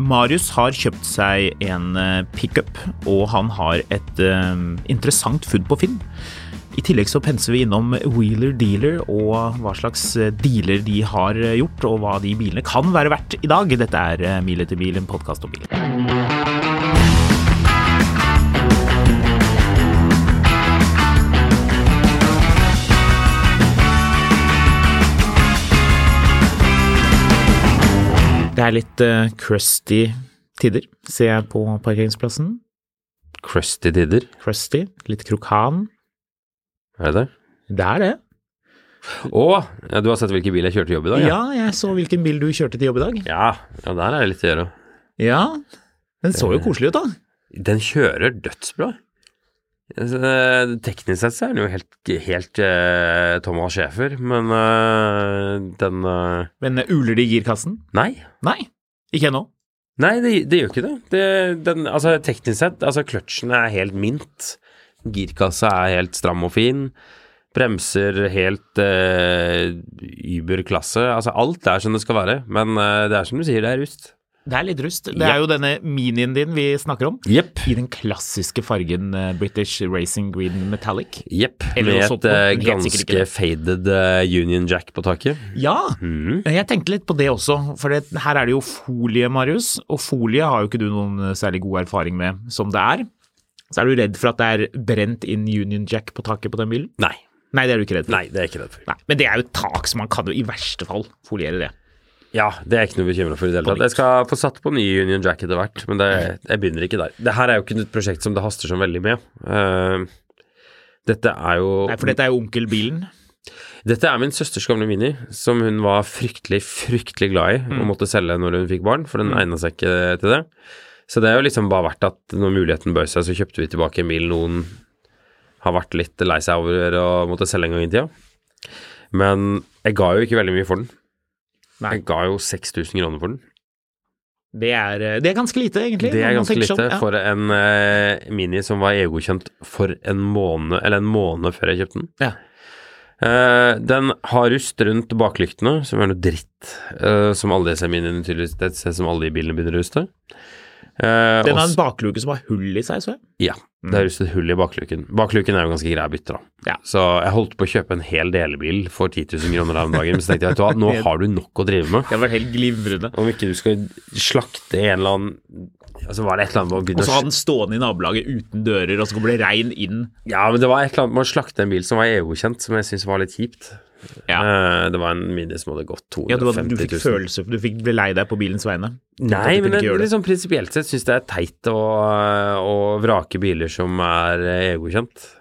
Marius har kjøpt seg en eh, pickup, og han har et eh, interessant funn på Finn. I tillegg så penser vi innom Wheeler Dealer og hva slags eh, dealer de har eh, gjort, og hva de bilene kan være verdt i dag. Dette er eh, Mil etter bil, en podkast om bil. Det er litt eh, crusty tider, ser jeg på parkeringsplassen. Crusty Didder, Crusty, litt krokan. er det det? Det er det. Å, ja, du har sett hvilken bil jeg kjørte til jobb i dag? Ja, jeg så hvilken bil du kjørte til jobb i dag. Ja, ja der er det litt å gjøre. Ja, den så jo koselig ut da. Den kjører dødsbra. Altså, eh, Teknisk sett så er den jo helt, helt eh, Thomas Schæfer, men eh, den eh, Men uler det i girkassen? Nei. Nei, ikke ennå. Nei, det, det gjør ikke det. det den, altså, teknisk sett, altså kløtsjen er helt mint. Girkassa er helt stram og fin. Bremser helt eh, überklasse. Altså alt er som det skal være, men eh, det er som du sier, det er rust. Det er litt rust. Det Ja. er jo denne minien din vi snakker om. Jepp. I den klassiske fargen eh, British Racing Green Metallic. Jepp. Eller Med noe sånt et noe, eh, men helt sikkert ikke ganske det. faded eh, Union Jack på taket. Ja, Mhm. jeg tenkte litt på det også, for det, her er det jo folie, Marius, og folie har jo ikke du noen eh, særlig god erfaring med som det er. Så er du redd for at det er brent inn Union Jack på taket på den bilen? Nei. Nei, det er du ikke redd for. Nei, det er jeg ikke redd for. Nei, men det er jo et tak, så man kan jo i verste fall foliere det. Ja, det er jeg ikke noe bekymra for i det hele tatt. Jeg skal få satt på ny Union Jack etter hvert, men det, jeg begynner ikke der. Det her er jo ikke et prosjekt som det haster så veldig med. Eh, dette er jo Nei, For dette er jo onkelbilen. Dette er min søsters gamle Mini, som hun var fryktelig, fryktelig glad i og Mm. måtte selge når hun fikk barn, for den egna seg ikke til det. Så det er jo liksom bare vært at når muligheten bød seg, så kjøpte vi tilbake en bil noen har vært litt lei seg over og måtte selge en gang i tida. Men jeg ga jo ikke veldig mye for den. Nei. Jeg ga jo 6000 kroner for den. Det er, eh, det er ganske lite, egentlig. Det når er man ganske tenker lite sånn, ja. for en eh, Mini som var EU-godkjent for en måned, eller en måned før jeg kjøpte den. Ja. Eh, den har rust rundt baklyktene, som er noe dritt. eh, som alle disse miniene tydeligvis Det er et sted som alle de bilene begynner å ruste. Eh, Den har en også- bakluke som har hull i seg, så jeg. ja, det er rustet hull i bakluken. Bakluken er jo ganske grei å bytte, da. Ja. Så jeg holdt på å kjøpe en hel delebil for 10 000 kroner her om dagen, men så tenkte jeg vet du hva, nå har du nok å drive med. Det har vært helt glimrende. Om ikke du skal slakte en eller annen Altså var det et eller annet med å begynne Og så å har den stående i nabolaget uten dører, og så kommer det regn inn. Ja, men det var et eller annet med å slakte en bil som var EU-kjent, som jeg syntes var litt kjipt. Eh, Det var en Mini som hadde gått 250 Ja, du, 000. hadde, du fikk følelse, du fikk ble lei deg på bilens vegne. Nei, du men kunne jeg, ikke gjøre det. liksom, prinsipielt sett syns det er teit å, å vrake biler som er eh, EU-kjent.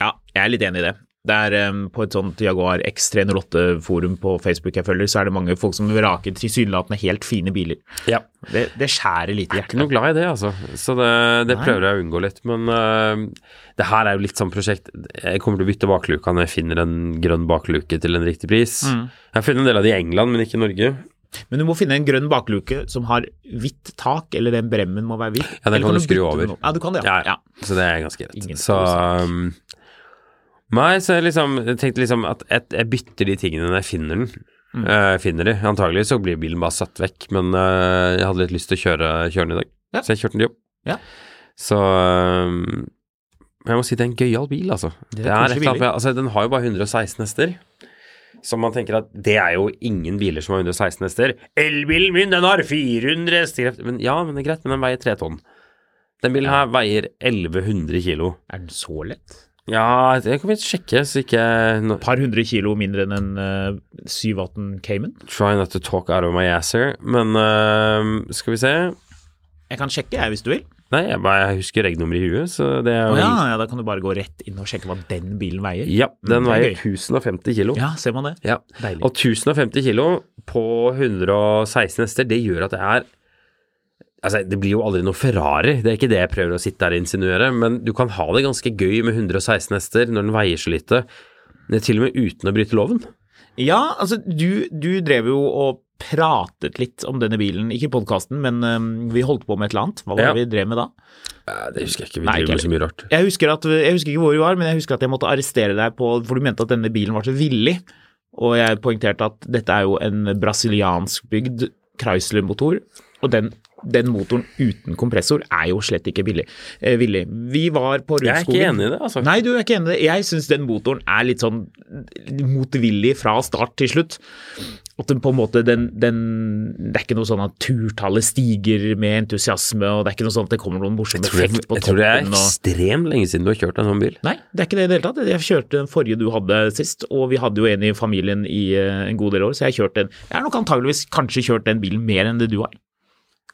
Ja, jeg er litt enig i det. Det er eh, På et sånt Jaguar X308-forum på Facebook jeg følger, så er det mange folk som vraker tilsynelatende helt fine biler. Ja. Det, det skjærer litt i Ikke hjertet. noe glad i det, altså. Så det, det Nei. prøver jeg å unngå litt. Men eh, det her er jo litt sånn prosjekt Jeg kommer til å bytte bakluka når jeg finner en grønn bakluke til en riktig pris. Mm. Jeg har funnet en del av de i England, men ikke i Norge. Men du må finne en grønn bakluke som har hvitt tak, eller den bremmen må være hvit. Ja, den Eller kan du bytte skru over. den om. Ja, du kan det, ja. ja. Så det er ganske rett. Ingen så stor um, Nei, så jeg liksom jeg tenkte liksom at jeg, jeg bytter de tingene når jeg finner den. Mm. Eh, finner de. Antagelig så blir bilen bare satt vekk, men eh, jeg hadde litt lyst til å kjøre, kjøre den i dag. Ja. Så jeg kjørte den til jobb. Ja. Så um, men jeg må si det er en gøyal bil, altså. er Det er koselig et eller annet biler. med, altså. Den har jo bare 116 hester. Som man tenker at det er jo ingen biler som har 116 hester. Elbilen min, den har 400 hestekrefter! Men ja, men det er greit, men den veier 3 tonn. Den bilen her veier 1100 kilo. Er den så lett? Ja, det kan vi sjekke, så ikke no, Par hundre kilo mindre enn en eh, 718 Cayman? Try not to talk out of my ass here, men øhm, skal vi se Jeg kan sjekke, jeg, hvis du vil. Nei, jeg, bare, jeg husker regnummeret i huet, så det er Å jo ja, ja, da kan du bare gå rett inn og sjekke hva den bilen veier. Mm, Ja, den det er veier gøy. 1050 kilo. Ja, ser man det? Ja. Deilig. Og 1050 kilo på 116 hester, det gjør at det er Altså, det blir jo aldri noe Ferrari, det er ikke det jeg prøver å sitte her og insinuere, men du kan ha det ganske gøy med 116 hester når den veier så lite, Det er til og med uten å bryte loven. Ja, altså du, du drev jo og pratet litt om denne bilen, ikke i podkasten, men øhm, vi holdt på med et eller annet. Hva var Ja. det vi drev med da? Eh, Det husker jeg ikke, vi Nei, driver ikke med så mye rart. Jeg husker, at, jeg husker ikke hvor vi var, men jeg husker at jeg måtte arrestere deg på For du mente at denne bilen var så villig, og jeg poengterte at dette er jo en brasilianskbygd Chrysler-motor, og den, den motoren uten kompressor er jo slett ikke billig. Eh, villig. Vi var på Jeg er Rudskogen ikke enig i det, altså. Nei, du er ikke enig i det. Jeg syns den motoren er litt sånn motvillig fra start til slutt. At den på en måte den, den Det er ikke noe sånn at turtallet stiger med entusiasme, og det er ikke noe sånn at det kommer noen morsom Jeg tror, det, effekt på jeg tror det er toppen og ekstremt lenge siden du har kjørt en sånn bil. Nei, det er ikke det i det hele tatt. Jeg kjørte den forrige du hadde sist, og vi hadde jo en i familien i eh, en god del år, så jeg har kjørt den Jeg har nok antageligvis kanskje kjørt den bilen mer enn det du har.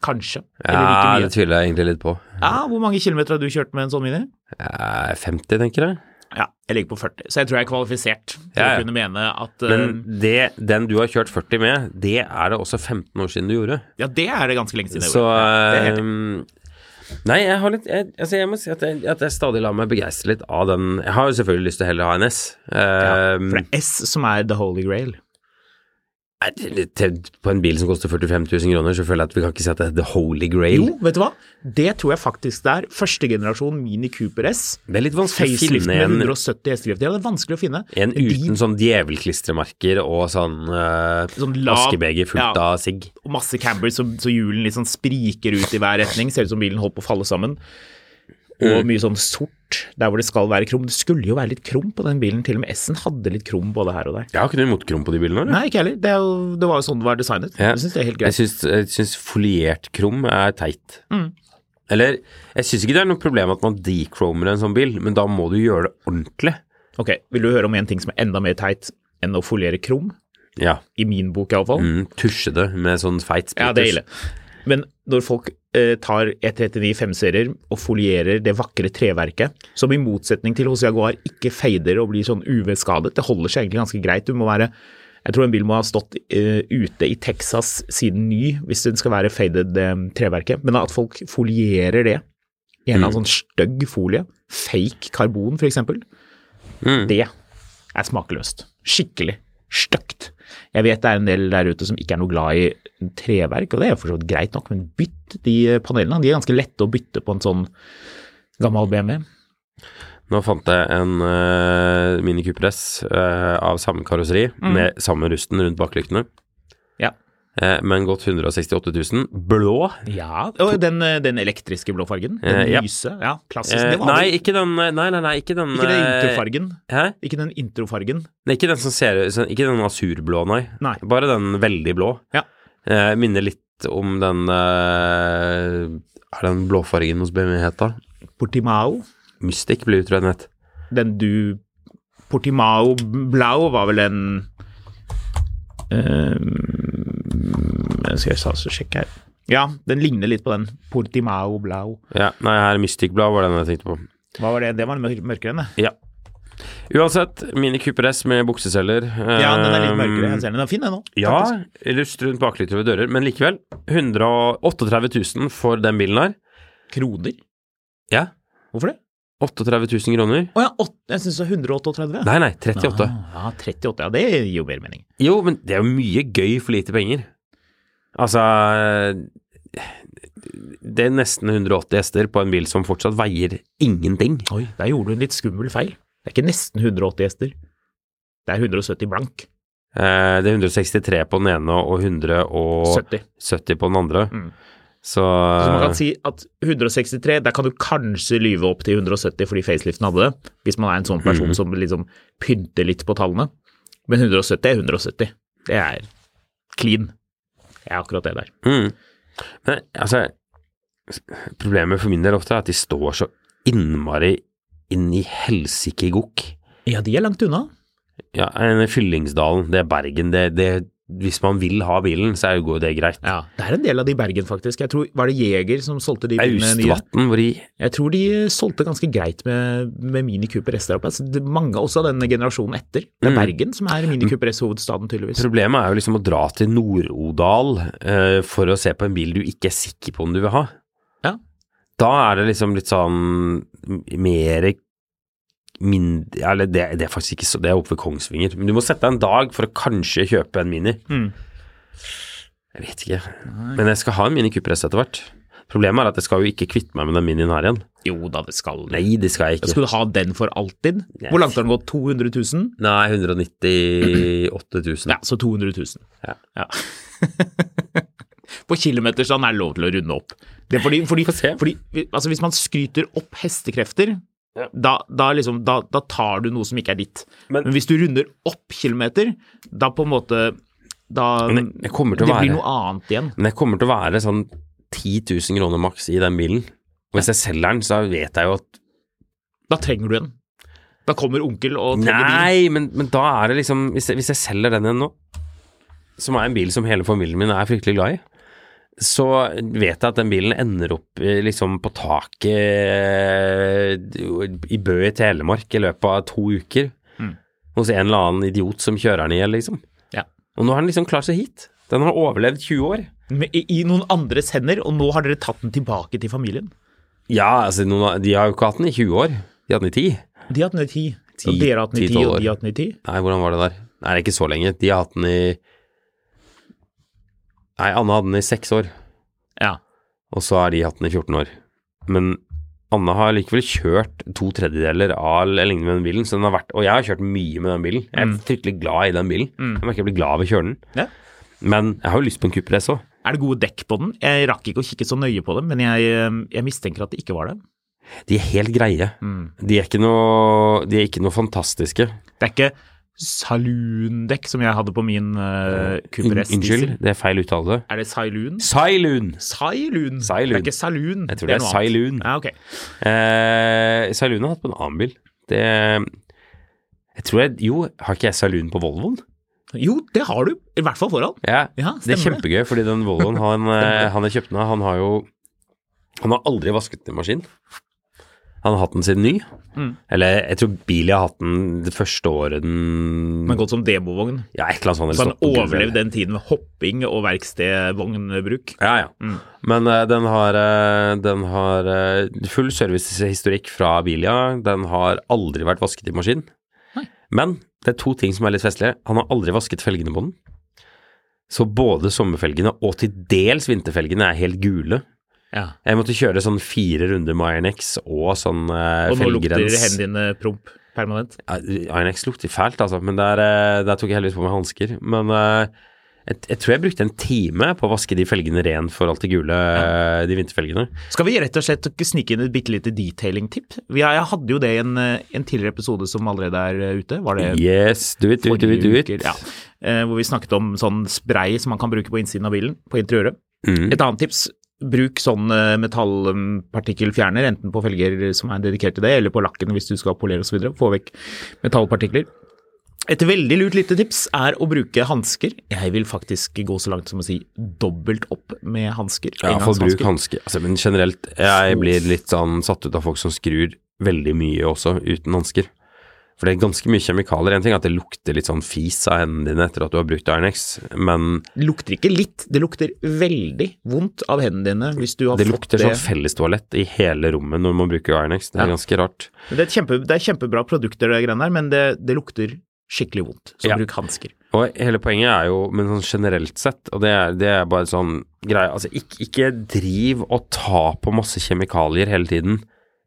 Kanskje. Eller Ja, like det mye. tviler jeg egentlig litt på. Ja, hvor mange kilometer har du kjørt med en sånn mini? Eh, 50, tenker jeg. Ja, jeg ligger på 40, så jeg tror jeg er kvalifisert til Ja, ja. å kunne mene at Men eh, det, den du har kjørt 40 med, det er det også 15 år siden du gjorde. Ja, det er det ganske lenge siden jeg Så gjorde. Ja, det er helt riktig. ehm, Nei, jeg har litt jeg, altså jeg må si at jeg, at jeg stadig lar meg begeistre litt av den Jeg har jo selvfølgelig lyst til å heller ha en S. Ja, Ehm, for det er S som er the holy grail. nei, til, til, på en bil som koster 45 000 kroner, så føler jeg at vi kan ikke si at det er the holy grail. Jo, vet du hva? Det tror jeg faktisk det er. Første generasjon Mini Cooper S. Det er litt vanskelig å Facelift finne med en, 170 hestekrefter. Ja, det er vanskelig å finne. en Men de- uten sånn djevelklistremerker og sånn, eh, Sånn lav- askebeger fullt ja. av sigg. og masse camber, så, så hjulene liksom spriker ut i hver retning. Ser ut som bilen holdt på å falle sammen. Mm. Og mye sånn sort der hvor det skal være krum. Det skulle jo være litt krum på den bilen, til og med S-en hadde litt krum både her og der. Jeg har ikke noe imot krom på de bilene. eller? Nei, ikke heller. Det, er jo- det var jo sånn det var designet. Mm. Ja. Jeg syns det er helt Jeg greit. syns, jeg syns foliert krom er teit. Mm. Eller, jeg syns ikke det er noe problem at man decromer en sånn bil, men da må du gjøre det ordentlig. Ok, vil du høre om en ting som er enda mer teit enn å foliere krum? Ja. I min bok iallfall. Mm, tusje det med sånn feit Ja, det er ille. Men når folk eh, tar E39 5-serier og folierer det vakre treverket, som i motsetning til hos Jaguar ikke feider og blir sånn UV-skadet, det holder seg egentlig ganske greit. Du må være jeg tror en bil må ha stått eh, ute i Texas siden ny hvis den skal være faded eh, treverket. Men at folk folierer det i en eller annen sånn stygg folie, fake karbon f.eks., det er smakløst. Skikkelig støkt. Jeg vet det er en del der ute som ikke er noe glad i treverk, og det er jo for så vidt greit nok, men bytt de panelene. De er ganske lette å bytte på en sånn gammel BMW. Nå fant jeg en uh, Mini Cooper S eh, av samme karosseri, Mm. med samme rusten rundt baklyktene, Ja. eh, men gått 168 000. Blå. ja. Og den, eh, den elektriske blåfargen. Den Eh, ja. lyse. Ja, klassisk. Eh, det var nei, vel- ikke den eh, Nei, nei, nei, ikke den ikke den eh, introfargen. Hæ? Ikke den introfargen. Nei, ikke den som ser ut sånn- Ikke den asurblå, nei. Nei. Bare den veldig blå. Ja. Eh, minner litt om den eh, Er den blåfargen hos BMW het, da? Portimao. Mystic Blue, tror jeg den het. Den du Portimao Blau var vel en eh, Skal jeg sa- så sjekke her. Ja, den ligner litt på den. Portimao Blau. Ja, nei, her Mystic Blad var den jeg tenkte på. Hva var det? Det var mørk, mørkere enn det. Ja. Uansett, Mini Cooper S med bukseseller. eh, Ja, den er litt mørkere. Jeg ser den. Den er fin, den òg. Ja, rust rundt baklytter ved dører, men likevel. 138 000 for den bilen her. Kroner? Ja. Hvorfor det? 38 000 kroner. Å ja, åt, jeg syns det var 138. Nei, nei, 38. Ah, ja, 38. Ja, det gir jo mer mening. Jo, men det er jo mye gøy for lite penger. Altså Det er nesten 180 hester på en bil som fortsatt veier ingenting. Oi, der gjorde du en litt skummel feil. Det er ikke nesten 180 hester. Det er 170 blank. Eh, Det er 163 på den ene og 170 70. på den andre. Mm. Så, Så man kan si at 163, der kan du kanskje lyve opp til 170 fordi faceliften hadde det, hvis man er en sånn person som liksom pynter litt på tallene. Men 170 er 170. Det er clean. Det er akkurat det der. Mm. Men altså Problemet for min del ofte er at de står så innmari inn i helsike i gokk. Ja, de er langt unna. Ja, en Fyllingsdalen, det er Bergen, det, det Hvis man vil ha bilen, så er jo det greit. Ja, Det er en del av de i Bergen, faktisk. Jeg tror, Var det Jeger som solgte de bilene nye? Austvatn, hvor i Jeg tror de eh, solgte ganske greit med, med Mini Cooper S der oppe. Altså, det- mange også av denne generasjonen etter. Det er Mm. Bergen som er Mini Cooper S-hovedstaden, tydeligvis. Problemet er jo liksom å dra til Nord-Odal eh, for å se på en bil du ikke er sikker på om du vil ha. Ja. Da er det liksom litt sånn mere mindre Eller det, det er faktisk ikke så Det er oppe ved Kongsvinger. Men du må sette deg en dag for å kanskje kjøpe en Mini. Mm. Jeg vet ikke. Men jeg skal ha en Mini Cooper S etter hvert. Problemet er at jeg skal jo ikke kvitte meg med den minien her igjen. Jo da, det skal Nei, det skal jeg Ja, ikke. Skal du ha den for alltid? Nei. Hvor langt har den gått? 200 000? Nei, 198 000. Ja, så 200 000. Ja. På kilometerstand er det lov til å runde opp. Det er fordi, fordi, Få se. fordi altså hvis man skryter opp hestekrefter, da, da, liksom, da, da tar du noe som ikke er ditt. Men- Men, hvis du runder opp kilometer, da på en måte Da Men jeg kommer til å det være- blir noe annet igjen. Men jeg kommer til å være sånn 10 000 kroner maks i den bilen. Og hvis jeg selger den, så vet jeg jo at Da trenger du en. Da kommer onkel og trenger bil. Nei, men, men da er det liksom Hvis jeg, hvis jeg selger den igjen nå, som er en bil som hele familien min er fryktelig glad i, så vet jeg at den bilen ender opp eh, liksom på taket eh, i Bø i Telemark i løpet av to uker. Hos en eller annen idiot som kjører den i hjel, liksom. Ja. Og nå har den liksom klart seg hit. Den har overlevd 20 år. Men I, I noen andres hender, og nå har dere tatt den tilbake til familien. Ja, altså, noen, av- de har jo ikke hatt den i 20 år. De hadde den i 10. De har hatt den i ti, Ti- og dere har hatt den i ti, ti, og de tolv år. har hatt den i ti. Nei, hvordan var det der? Nei, det er ikke så lenge. De har hatt den i Nei, Anne hadde den i seks år, Ja. og så har de hatt den i 14 år. Men Anne har likevel kjørt to tredjedeler av eller lignende med den bilen, så den har vært Og jeg har kjørt mye med den bilen. Jeg er fryktelig glad i den bilen. Jeg merker jeg blir glad av å kjøre den. Mm. Ja. Men jeg har jo lyst på en Cooper S òg. Er det gode dekk på den? Jeg rakk ikke å kikke så nøye på dem, men jeg, eh, jeg mistenker at det ikke var det. De er helt greie. Mm. De, er ikke noe, de er ikke noe fantastiske. Det er ikke saloondekk som jeg hadde på min uh, Cooper S diesel. Unnskyld, det er feil uttale. Er det sailoon? Sailoon! Sailoon. Sailoon. Det er ikke saloon. Jeg tror det noe er annet. sailoon. Ja, ok. Eh, Saloon har hatt på en annen bil. Det Jeg tror jeg Jo, har ikke jeg Saloon på Volvoen? Jo, det har du. I hvert fall foran. Ja, Ja, Det er stemmer kjempegøy, fordi den Volvoen han, eh, han jeg kjøpte den av, han har jo Han har aldri vasket den i maskin. Han har hatt den siden ny. Mm. Eller jeg tror Bilia har hatt den det første året den Men godt som demovogn. Ja, et eller annet sånt. eller Så han stått på gulvet. overlevde den tiden med hopping og verkstedvognbruk. Ja, ja. Mm. Men eh, den har, eh, den har eh, full servicehistorikk fra Bilia. Den har aldri vært vasket i maskin. Men det er to ting som er litt festlige. Han har aldri vasket felgene på den. Så både sommerfelgene og til dels vinterfelgene er helt gule. Ja. Jeg måtte kjøre sånn fire runder med Ironex og sånn eh, Og nå lukter felgrens. hendene dine promp permanent. Ja, Ironex lukter fælt, altså, men der, eh, der tok jeg heldigvis på meg hansker. Men eh, jeg, jeg tror jeg brukte en time på å vaske de felgene ren for alt det gule, eh, de vinterfelgene. Skal vi rett og slett snike inn et bitte lite detailing-tipp? Vi- Jeg hadde jo det i en, eh, en tidligere episode som allerede er eh, ute. Var det Yes, do it, do it, do it. Do forrige it. uke? Ja. Eh, Hvor vi snakket om sånn spray som man kan bruke på innsiden av bilen, på interiøret. Mm. Et annet tips, bruk sånn eh, metallpartikkelfjerner, enten på felger som er dedikert til det, eller på lakken hvis du skal polere osv. Få vekk metallpartikler. Et veldig lurt lite tips er å bruke hansker. Jeg vil faktisk gå så langt som å si dobbelt opp med hansker. Ja, for bruk Engangshansker. hanske. Altså, men generelt, jeg blir litt sånn satt ut av folk som skrur veldig mye også uten hansker. For det er ganske mye kjemikalier. En ting er at det lukter litt sånn fis av hendene dine etter at du har brukt Ironex, men Det lukter ikke litt, det lukter veldig vondt av hendene dine hvis du har det fått lukter det. sånn fellestoalett i hele rommet når man bruker Ironex. Det er ganske rart. Men Det er, et kjempe, det er kjempebra produkter, det greiene der, men det, det lukter skikkelig vondt. Så Ja. bruk hansker. Og hele poenget er jo, men sånn generelt sett, og det er, det er bare sånn greie Altså, ikke, ikke driv og ta på masse kjemikalier hele tiden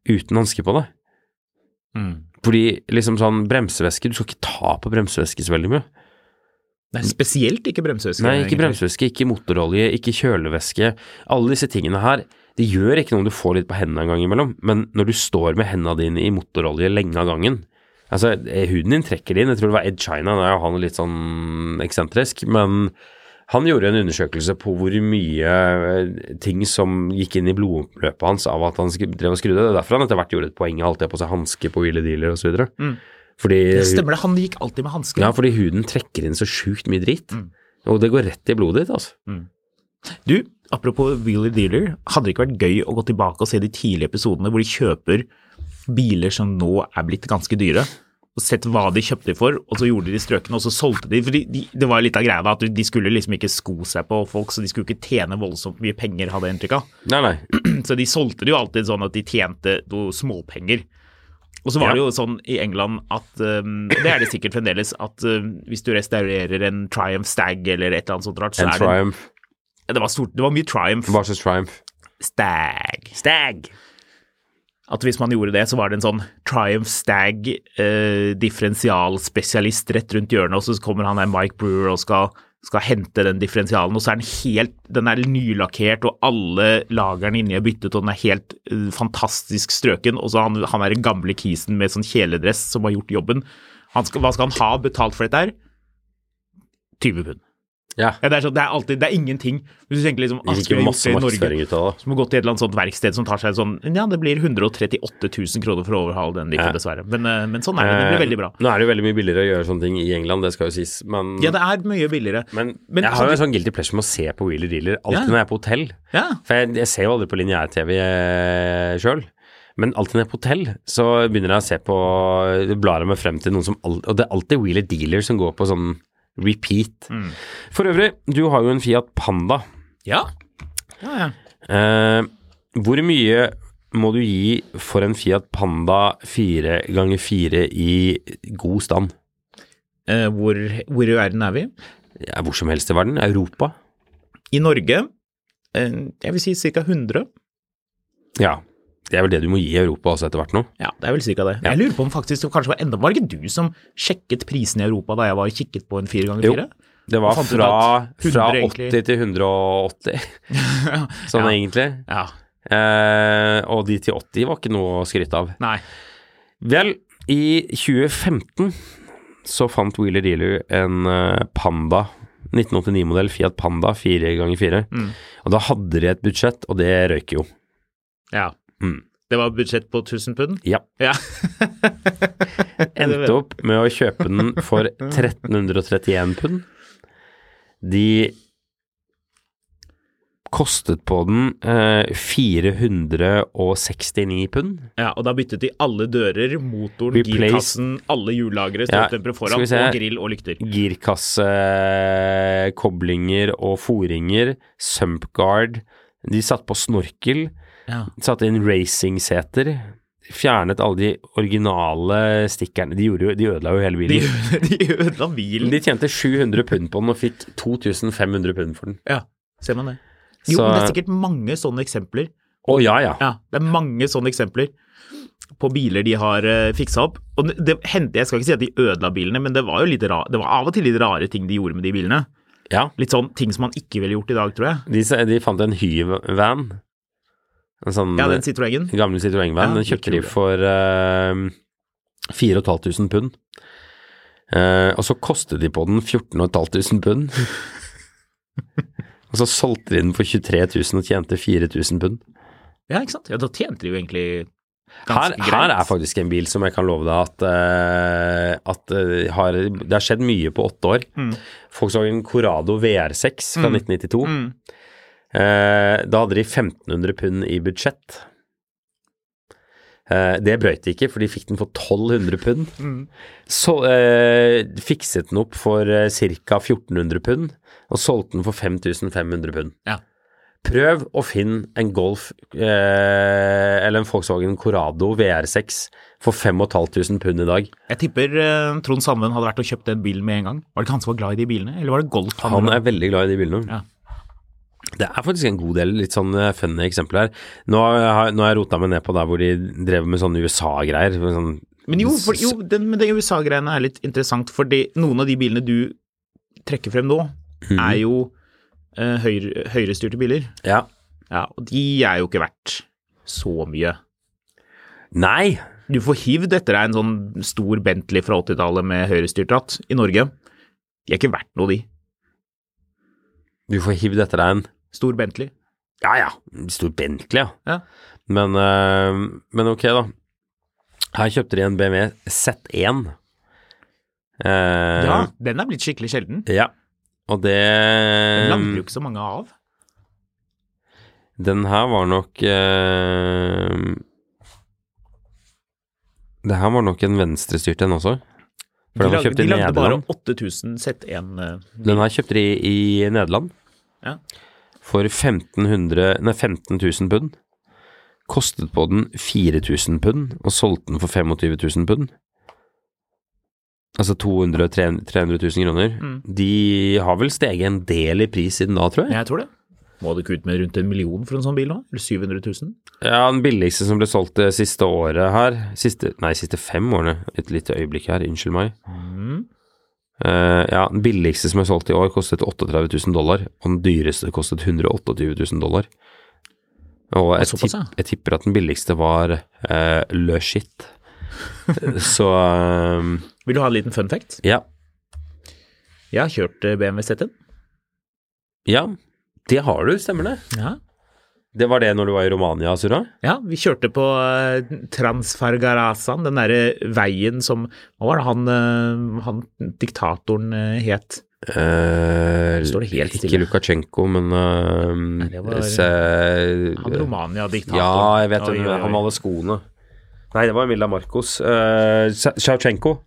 uten hansker på deg. Fordi liksom sånn bremsevæske, du skal ikke ta på bremsevæske så veldig mye. Nei, spesielt ikke bremsevæske. Nei, ikke egentlig. bremsevæske, ikke motorolje, ikke kjølevæske. Alle disse tingene her, det gjør ikke noe om du får litt på hendene en gang imellom, men når du står med hendene dine i motorolje lenge av gangen, Altså, eh, huden din trekker det inn. Jeg tror det var Ed China, nå er jo han litt sånn eksentrisk, men han gjorde en undersøkelse på hvor mye eh, ting som gikk inn i blodomløpet hans av at han skru- drev og skrudde. Det er derfor han etter hvert gjorde et poeng av alltid å ha på seg hanske på Wheeler Dealer osv. Mm. Fordi, Det stemmer det, han gikk alltid med hansker. ja, Mm. fordi huden trekker inn så sjukt mye dritt. Og det går rett i blodet ditt, altså. Du, apropos Wheeler Dealer, hadde det ikke vært gøy å gå tilbake og se de tidlige episodene hvor de kjøper biler som nå er blitt ganske dyre, og sett hva de kjøpte de for, og så gjorde de strøkene, og så solgte de. For de, de, det var jo litt av greia da, at de skulle liksom ikke sko seg på folk, så de skulle ikke tjene voldsomt mye penger, hadde jeg inntrykk av. Nei, nei. Så de solgte det jo alltid sånn at de tjente noe småpenger. Og så var det jo sånn i England at um, Det er det sikkert fremdeles, at um, hvis du restaurerer en Triumph Stag eller et eller annet sånt rart, så En er det triumph. ja, det var, stort, det var mye Triumph. Hva slags triumph? Stag. Stag. At hvis man gjorde det, så var det en sånn Triumph Stag eh, differensialspesialist rett rundt hjørnet, og så kommer han der Mike Brewer og skal, skal hente den differensialen, og så er den helt Den er nylakkert, og alle lagerne inni er byttet, og den er helt eh, fantastisk strøken, og så han, han er den gamle kisen med sånn kjeledress som har gjort jobben. Han skal, hva skal han ha betalt for dette her? 20 pund. Ja. Ja, det, er sånn, det er alltid Det er ingenting. Hvis du tenker liksom Det «Ah, gikk skulle jo jeg gjort masse det i Norge?» markedsføring ut av det. Som har gått til et eller annet sånt verksted som tar seg sånn Ja, det blir 138 000 kroner for å overhale den biffen, Ja. dessverre. Men, eh, men sånn er det. Det blir veldig bra. Eh, Nå er det jo veldig mye billigere å gjøre sånne ting i England, det skal jo sies, men Ja, det er mye billigere. Men, jeg har kan jo du- en sånn guilty pleasure med å se på Wheeler Dealer alltid Ja. når jeg er på hotell. Ja. For jeg, jeg ser jo aldri på lineær-TV sjøl. Men alltid når jeg er på hotell, så begynner jeg å se på eh, Blar jeg meg frem til noen som al- Og det er alltid Wheeler Dealer som går på sånn repeat. Mm. For øvrig, du har jo en Fiat Panda. ja. ja, ja. Eh, hvor mye må du gi for en Fiat Panda 4 ganger 4 i god stand? Eh, hvor, hvor i verden er vi? Ja, hvor som helst i verden. Europa. I Norge eh, Jeg vil si ca. 100. Ja. Det er vel det du må gi Europa også etter hvert nå. Ja, det er vel ca. det. Jeg lurer på om faktisk det kanskje var enda Var det ikke du som sjekket prisene i Europa da jeg var og kikket på en fire ganger fire? Det var Og fant ut fra, at 100 fra 80 egentlig- til 180, sånn egentlig. Ja. Eh, og de til 80 var ikke noe å skryte av. Nei. Vel, i 2015 så fant Wheeler Dealer en eh, Panda, 1989-modell Fiat Panda 4x4. Mm. Og da hadde de et budsjett, og det røyk jo. Ja. Mm. Det var budsjett på 1000 pund? Ja. Ja. Endte opp med å kjøpe den for 1331 pund. De kostet på den eh, 469 pund. Ja, og da byttet de alle dører, motoren, Replace- girkassen, alle hjullagre, Ja, støtdempere skal foran vi se. og grill og lykter. Girkasse, koblinger og foringer, sumpguard. De satt på snorkel, Ja. satte inn racingseter. Fjernet alle de originale stikkerne. De, gjorde jo, de ødela jo hele De, bilen. de ødela bilen. De tjente 700 pund på den og fikk 2500 pund for den. Ja, ser man det. Jo, Så- men det er sikkert mange sånne eksempler. Å ja, ja. Ja, det er mange sånne eksempler på biler de har uh, fiksa opp. Og det, det hendte, jeg skal ikke si at de ødela bilene, men det var jo litt ra det var av og til litt rare ting de gjorde med de bilene. ja. Litt sånn ting som man ikke ville gjort i dag, tror jeg. De, sa- de fant en Hy-van. En sånn Ja, den Citroën. gamle Citroën-van. Ja, den kjøpte de kul, ja. for eh, 4500 pund. Eh, og så kostet de på den 14500 pund. og så solgte de den for 23 000 og tjente 4000 pund. Ja, ikke sant. Ja, da tjente de jo egentlig Her, ganske her er greit. faktisk en bil som jeg kan love deg at, eh, at eh, har, Det har skjedd mye på åtte år. Mm. Volkswagen Corrado VR6 fra 1992. Mm. Eh, da hadde de 1500 pund i budsjett. Eh, det brøyt de ikke, for de fikk den for 1200 pund. Så eh, fikset den opp for eh, ca. 1400 pund, og solgte den for 5500 pund. Ja. Prøv å finne en Golf eh, eller en Volkswagen Corrado VR6 for 5500 pund i dag. Jeg tipper eh, Trond Sandven hadde vært og kjøpt den bilen med en gang. Var det ikke han som var glad i de bilene, eller var det Golf? Han er veldig glad i de bilene. Ja. Det er faktisk en god del litt sånn eh, funny eksempler her. Nå har, nå har jeg rota meg ned på der hvor de drev med sånne USA-greier. med Sånn, Men jo, for, jo den, men det USA-greiene er litt interessant, fordi noen av de bilene du trekker frem nå, Mhm. er jo eh, høyre, høyrestyrte biler. ja. Ja, og de er jo ikke verdt så mye. Nei, Du får hivd etter deg en sånn stor Bentley fra 80-tallet med høyrestyrt ratt i Norge. De er ikke verdt noe, de. Du får hivd etter deg en Stor Bentley. Ja ja, stor Bentley, ja. Ja. Men, eh, men ok, da. Her kjøpte de en BMW Z1. Eh, ja. Den er blitt skikkelig sjelden. ja. Og Den det lagde jo ikke så mange av. Den her var nok eh, Det her var nok en venstrestyrt en også. For De den var lagde, kjøpt de i lagde bare 8000 Nederland. Z1 eh, Den her kjøpte de i Nederland Ja. for 1500, nei, 15 000 pund. Kostet på den 4000 pund, og solgte den for 25 000 pund. Altså 200 300 000 kroner. Mm. De har vel steget en del i pris siden da, tror jeg. Jeg tror det. Må du ikke ut med rundt en million for en sånn bil nå? Eller 700 000? Ja, den billigste som ble solgt det siste året her siste, Nei, siste fem årene. Et lite øyeblikk her, unnskyld meg. Mhm. Eh, ja, den billigste som er solgt i år, kostet 38 000 dollar. Og den dyreste kostet 128 000 dollar. Og jeg, såpass, ja. tipp, jeg tipper at den billigste var uh, le shit. Så eh, Vil du ha en liten fun fact? ja. Jeg har kjørt eh, BMW Z1. ja. Det har du, stemmer det. Ja. Det var det når du var i Romania, Surra? Ja, vi kjørte på eh, Transfargarasan, den derre veien som Hva var det han, eh, han diktatoren eh, het? Eh, Står det helt ikke stille. Lukasjenko, men eh, det var- se- Han Romania-diktatoren. Ja, jeg vet Oi, hvem oi, oi. han med alle skoene. Nei, det var Milla Marcos. Uh, Sjautsjenko.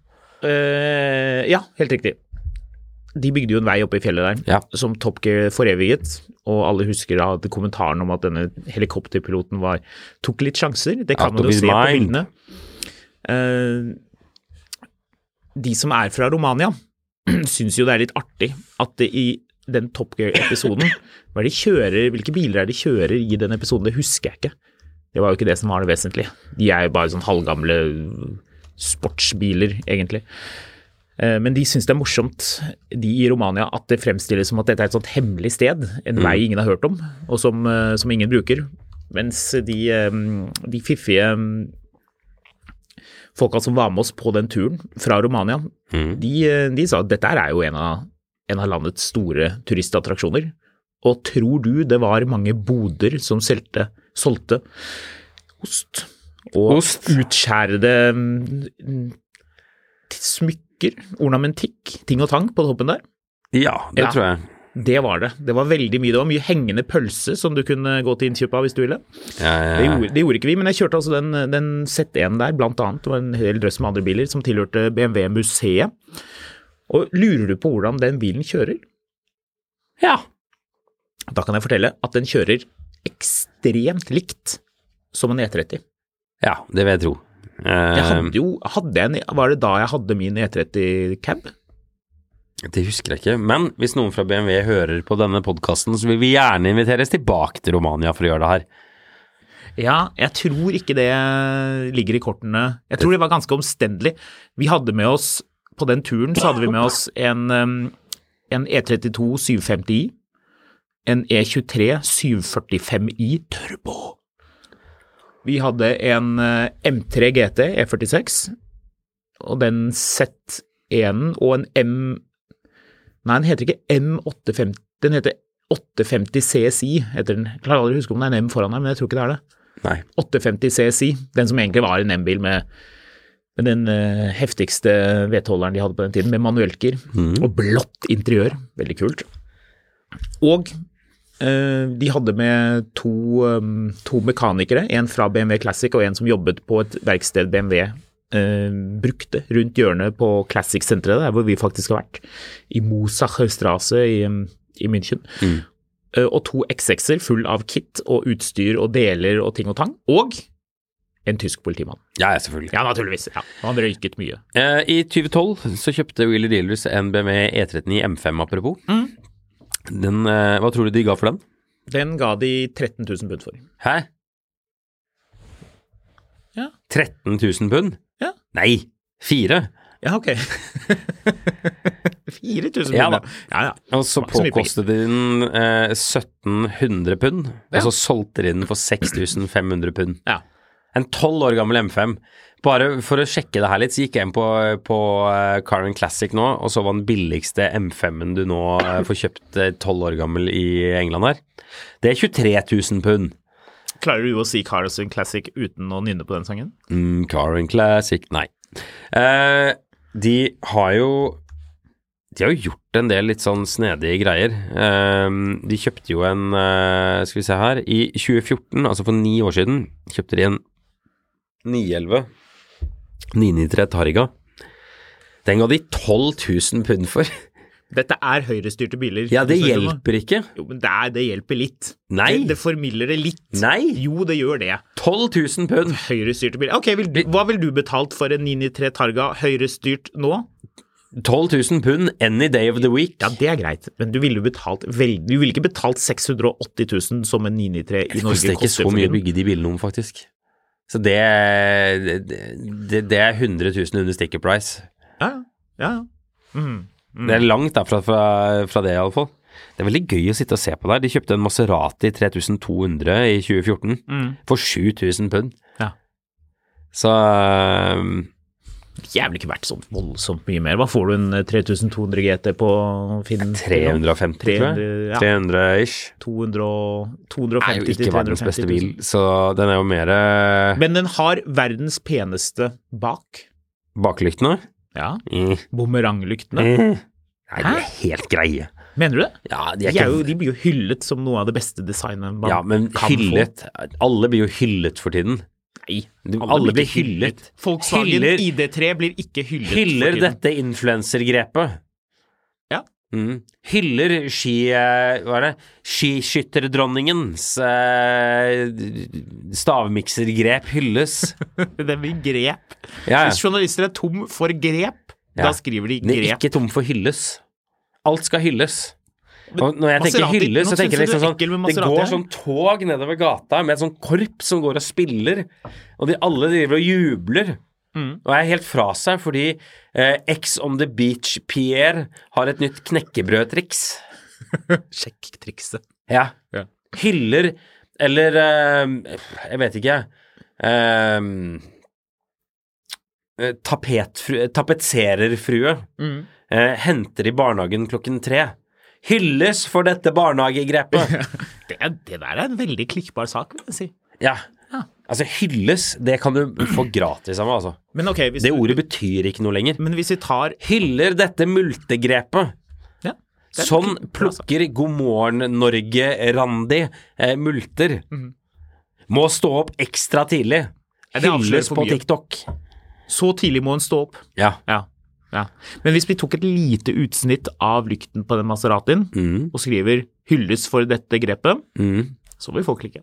Eh, ja, helt riktig. De bygde jo en vei oppe i fjellet der. Ja. som Top Gear foreviget, og alle husker da at kommentaren om at denne helikopterpiloten var, tok litt sjanser. Det kan man Out of jo his se på mind. bildene. Eh, de som er fra Romania, syns jo det er litt artig at det i den Top Gear-episoden hva er det de kjører, Hvilke biler er det de kjører i den episoden? Det husker jeg ikke. Det var jo ikke det som var det vesentlige. De er jo bare sånn halvgamle sportsbiler, egentlig. Eh, Men de syns det er morsomt, de i Romania, at det fremstilles som at dette er et sånt hemmelig sted, en vei ingen har hørt om, og som, eh, som ingen bruker. Mens de, eh, de fiffige eh, folka som var med oss på den turen fra Romania, de, eh, de sa at dette her er jo en av, en av landets store turistattraksjoner. Og tror du det var mange boder som selte, solgte ost? Og Ost? utskjærede mm, smykker, ornamentikk, ting og tang på toppen der. Ja, det Ja. tror jeg. Det var det. Det var veldig mye. Det var mye hengende pølse som du kunne gå til innkjøp av hvis du ville. Ja, ja, Det ja. gjorde, det gjorde ikke vi, men jeg kjørte altså den, den Z1 der, blant annet. Det var en hel drøss med andre biler som tilhørte BMW-museet. Og lurer du på hvordan den bilen kjører? Ja. Da kan jeg fortelle at den kjører ekstremt likt som en E30. ja, det vil jeg tro. Jeg Eh, hadde jo, hadde jeg en, var det da jeg hadde min E30-cab? Eh, det husker jeg ikke. Men hvis noen fra BMW hører på denne podkasten, så vil vi gjerne inviteres tilbake til Romania for å gjøre det her. Ja, jeg tror ikke det ligger i kortene. Jeg tror det var ganske omstendelig. Vi hadde med oss, på den turen så hadde vi med oss en, um, en E32 750i, en E E23 745i Turbo. Vi hadde en eh, M3 GT E46, E og den Z1-en og en M... Nei, den heter ikke M850, den heter 850 CSI, heter den. Jeg klarer aldri å huske om det er en M foran her, men jeg tror ikke det er det. Nei. 850 CSI, den som egentlig var en M-bil med, med den eh, heftigste vedholderen de hadde på den tiden, med manuellgir og blått interiør. Veldig kult. Og eh, de hadde med to, eh, to mekanikere, en fra BMW Classic og en som jobbet på et verksted BMW eh, brukte rundt hjørnet på Classic-senteret, der hvor vi faktisk har vært, i Mosacher Strasse i, eh, i München. Eh, og to XX-er full av kit og utstyr og deler og ting og tang. Og en tysk politimann. Ja, ja, selvfølgelig. Ja, naturligvis. Ja. Han røyket mye. Eh, I 2012 så kjøpte Wheeler Dealers en BMW E39 M5, apropos. Den, eh, hva tror du de ga for den? Den ga de 13 000 pund for. Hæ? Ja. 13 000 pund? Ja. Nei, fire. Ja, ok. 4000 Ja, da. pund. Ja, ja. Og så Det var ikke så påkostet de den Altså eh, 1700 pund, og så solgte de den for 6500 pund. ja. En tolv år gammel M5. Bare for å sjekke det her litt, så gikk jeg inn på, på eh, Car and Classic nå, og så var den billigste M5-en du nå eh, får kjøpt tolv år gammel i England her. Det er 23 000 pund. Klarer du å si Carlsen Classic uten å nynne på den sangen? Mm, Car and Classic, nei. Eh, de har jo De har jo gjort en del litt sånn snedige greier. Eh, de kjøpte jo en eh, Skal vi se her I 2014, altså for ni år siden, kjøpte de en 911 993 Tariga. Den ga de 12 000 pund for. Dette er høyrestyrte biler. Ja, det Du snakker om, da. hjelper ikke. Jo, men det, er, det hjelper litt. Nei. Det, det formilder det litt. Nei. Jo, det gjør det. 12 000 pund! Høyrestyrte biler. Ok, vil, du- Hva vil du betalt for en 993 Targa høyrestyrt nå? 12 000 pund any day of the week. Ja, det er greit, men du ville jo betalt vel, Du ville ikke betalt 680 000 som en 993 i Det Norge koster ikke så for mye å tiden. bygge de bilene om, faktisk. Så det, det, det, det er 100 000 under sticker price. Ja, ja. Mm. Det er langt derfra fra, fra det, iallfall. Det er veldig gøy å sitte og se på der. De kjøpte en Maserati 3200 i 2014 Mm. for 7000 pund. Ja. Så um, Jævlig ikke verdt så voldsomt mye mer. Hva får du en eh, 3200 GT på Finn? 350, tror 300, jeg. ja. 300 ish. 200 og- Det er 250 jo ikke verdens 350 beste 000. bil, så den er jo mer eh, Men den har verdens peneste bak. baklyktene. Ja. Mm. Bumeranglyktene. eh. Nei, de er Hæ? helt greie. Mener du det? Ja, De, er jo, de blir jo hyllet som noe av det beste designet man Ja, men kan få. hyllet Alle blir jo hyllet for tiden. Nei, Du- alle blir hyllet. Volkswagen Hyller- ID3 blir ikke hyllet for Hyller tiden. dette influensergrepet. Ja. Mm. Hyller ski... eh, Hva er det? Skiskytterdronningens eh, stavmiksergrep hylles. Den vil grep. Ja, ja. Hvis journalister er tom for grep, da Ja. skriver de Den er grep. ikke tom for hylles. Alt skal hylles. Og når jeg tenker Maserati- hylles, nå så tenker synes jeg jeg liksom du er sånn ekkel med Det Maserati går her. sånn tog nedover gata med et sånn korps som går og spiller, og de alle driver og jubler. Mm. Og er helt fra seg fordi eh, X on the Beach Pierre har et nytt knekkebrødtriks. Sjekk trikset. Ja. Ja. Hyller eller eh, Jeg vet ikke. Eh, eh, tapetfru, tapetsererfrue Mm. eh, henter i barnehagen klokken tre. Hylles for dette barnehagegrepet! Det, er- det der er en veldig klikkbar sak, vil jeg si. ja. Ja. Altså, hylles, det kan du få gratis av meg, altså. Men ok, hvis, Det ordet betyr ikke noe lenger. men hvis vi tar Hyller dette multegrepet. ja, det er Sånn en altså. klikkbar sak. plukker God morgen Norge-Randi eh, multer. Må stå opp ekstra tidlig. Mhm. Ja, det avslører Hylles for på mye. TikTok. Så tidlig må en stå opp. Ja. Ja. ja. Men hvis vi tok et lite utsnitt av lykten på den Maseratien, og skriver 'hylles for dette grepet', Mm. så vil folk klikke.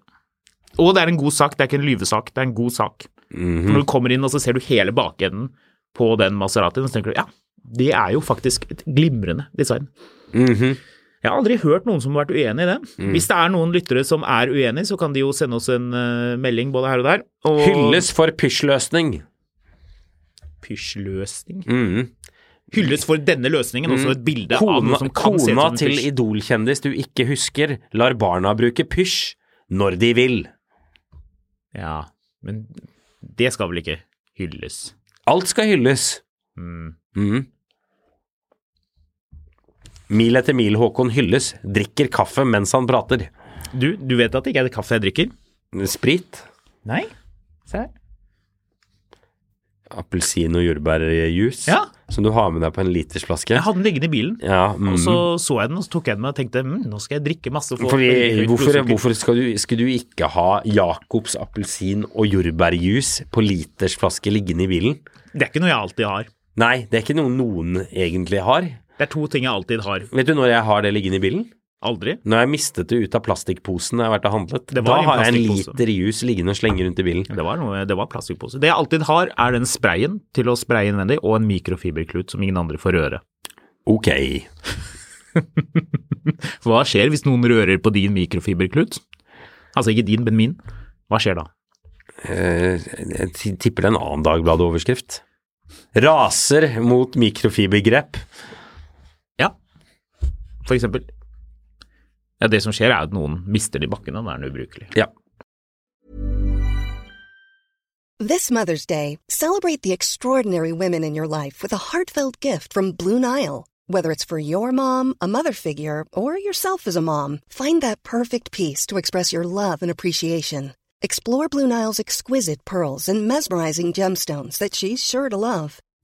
Og det er en god sak, det er ikke en lyvesak, det er en god sak. Mm-hmm. For Når du kommer inn og så ser du hele bakenden på den Maseratien, så tenker du ja, det er jo faktisk et glimrende design. Mhm. Jeg har aldri hørt noen som har vært uenig i det. Mm. Hvis det er noen lyttere som er uenig, så kan de jo sende oss en eh, melding både her og der. Og Hylles for pysjløsning. pysjløsning. Mhm. Hylles for denne løsningen, også et bilde av Mm. Kona, noe som kan se ut kona som en til pysj. idolkjendis du ikke husker, lar barna bruke pysj når de vil. Ja, men det skal vel ikke hylles. Alt skal hylles. Mm. Mhm. Mil etter mil Håkon hylles, drikker kaffe mens han prater. Du, du vet at det ikke er kaffe jeg drikker? Sprit. Nei. Se her. Appelsin- og jordbærjuice Ja. som du har med deg på en litersflaske. Jeg hadde den liggende i bilen, Ja, mm. og så så jeg den, og så tok jeg den med og tenkte hm, nå skal jeg drikke masse. for å få veldig Fordi, høyt hvorfor blodsukker». hvorfor skal du, skulle du ikke ha Jacobs appelsin- og jordbærjuice på litersflaske liggende i bilen? Det er ikke noe jeg alltid har. Nei, det er ikke noe noen egentlig har. Det er to ting jeg alltid har. Vet du når jeg har det liggende i bilen? Aldri. Når jeg mistet det ut av plastikkposen jeg har vært og handlet. Det Da var i en har jeg en plastikkpose. liter juice liggende og slenger rundt i bilen. Det var, noe, det var plastikkpose. Det jeg alltid har, er den sprayen til å spraye innvendig, og en mikrofiberklut som ingen andre får røre. Ok. Eh, Hva skjer hvis noen rører på din mikrofiberklut? Altså ikke din, men min. Hva skjer da? Eh, Jeg ti- tipper det er en annen Dagbladet-overskrift. Raser mot mikrofibergrep. Ja, for eksempel. Ja, det som skjer er at noen mister det i bakken, og den er den ubrukelig. Ja. This Mother's Day, celebrate the extraordinary women in your life with a heartfelt gift from Blue Nile. Whether it's for your mom, a mother figure, or yourself as a mom, find that perfect piece to express your love and appreciation. Explore Blue Nile's exquisite pearls and mesmerizing gemstones that she's sure to love.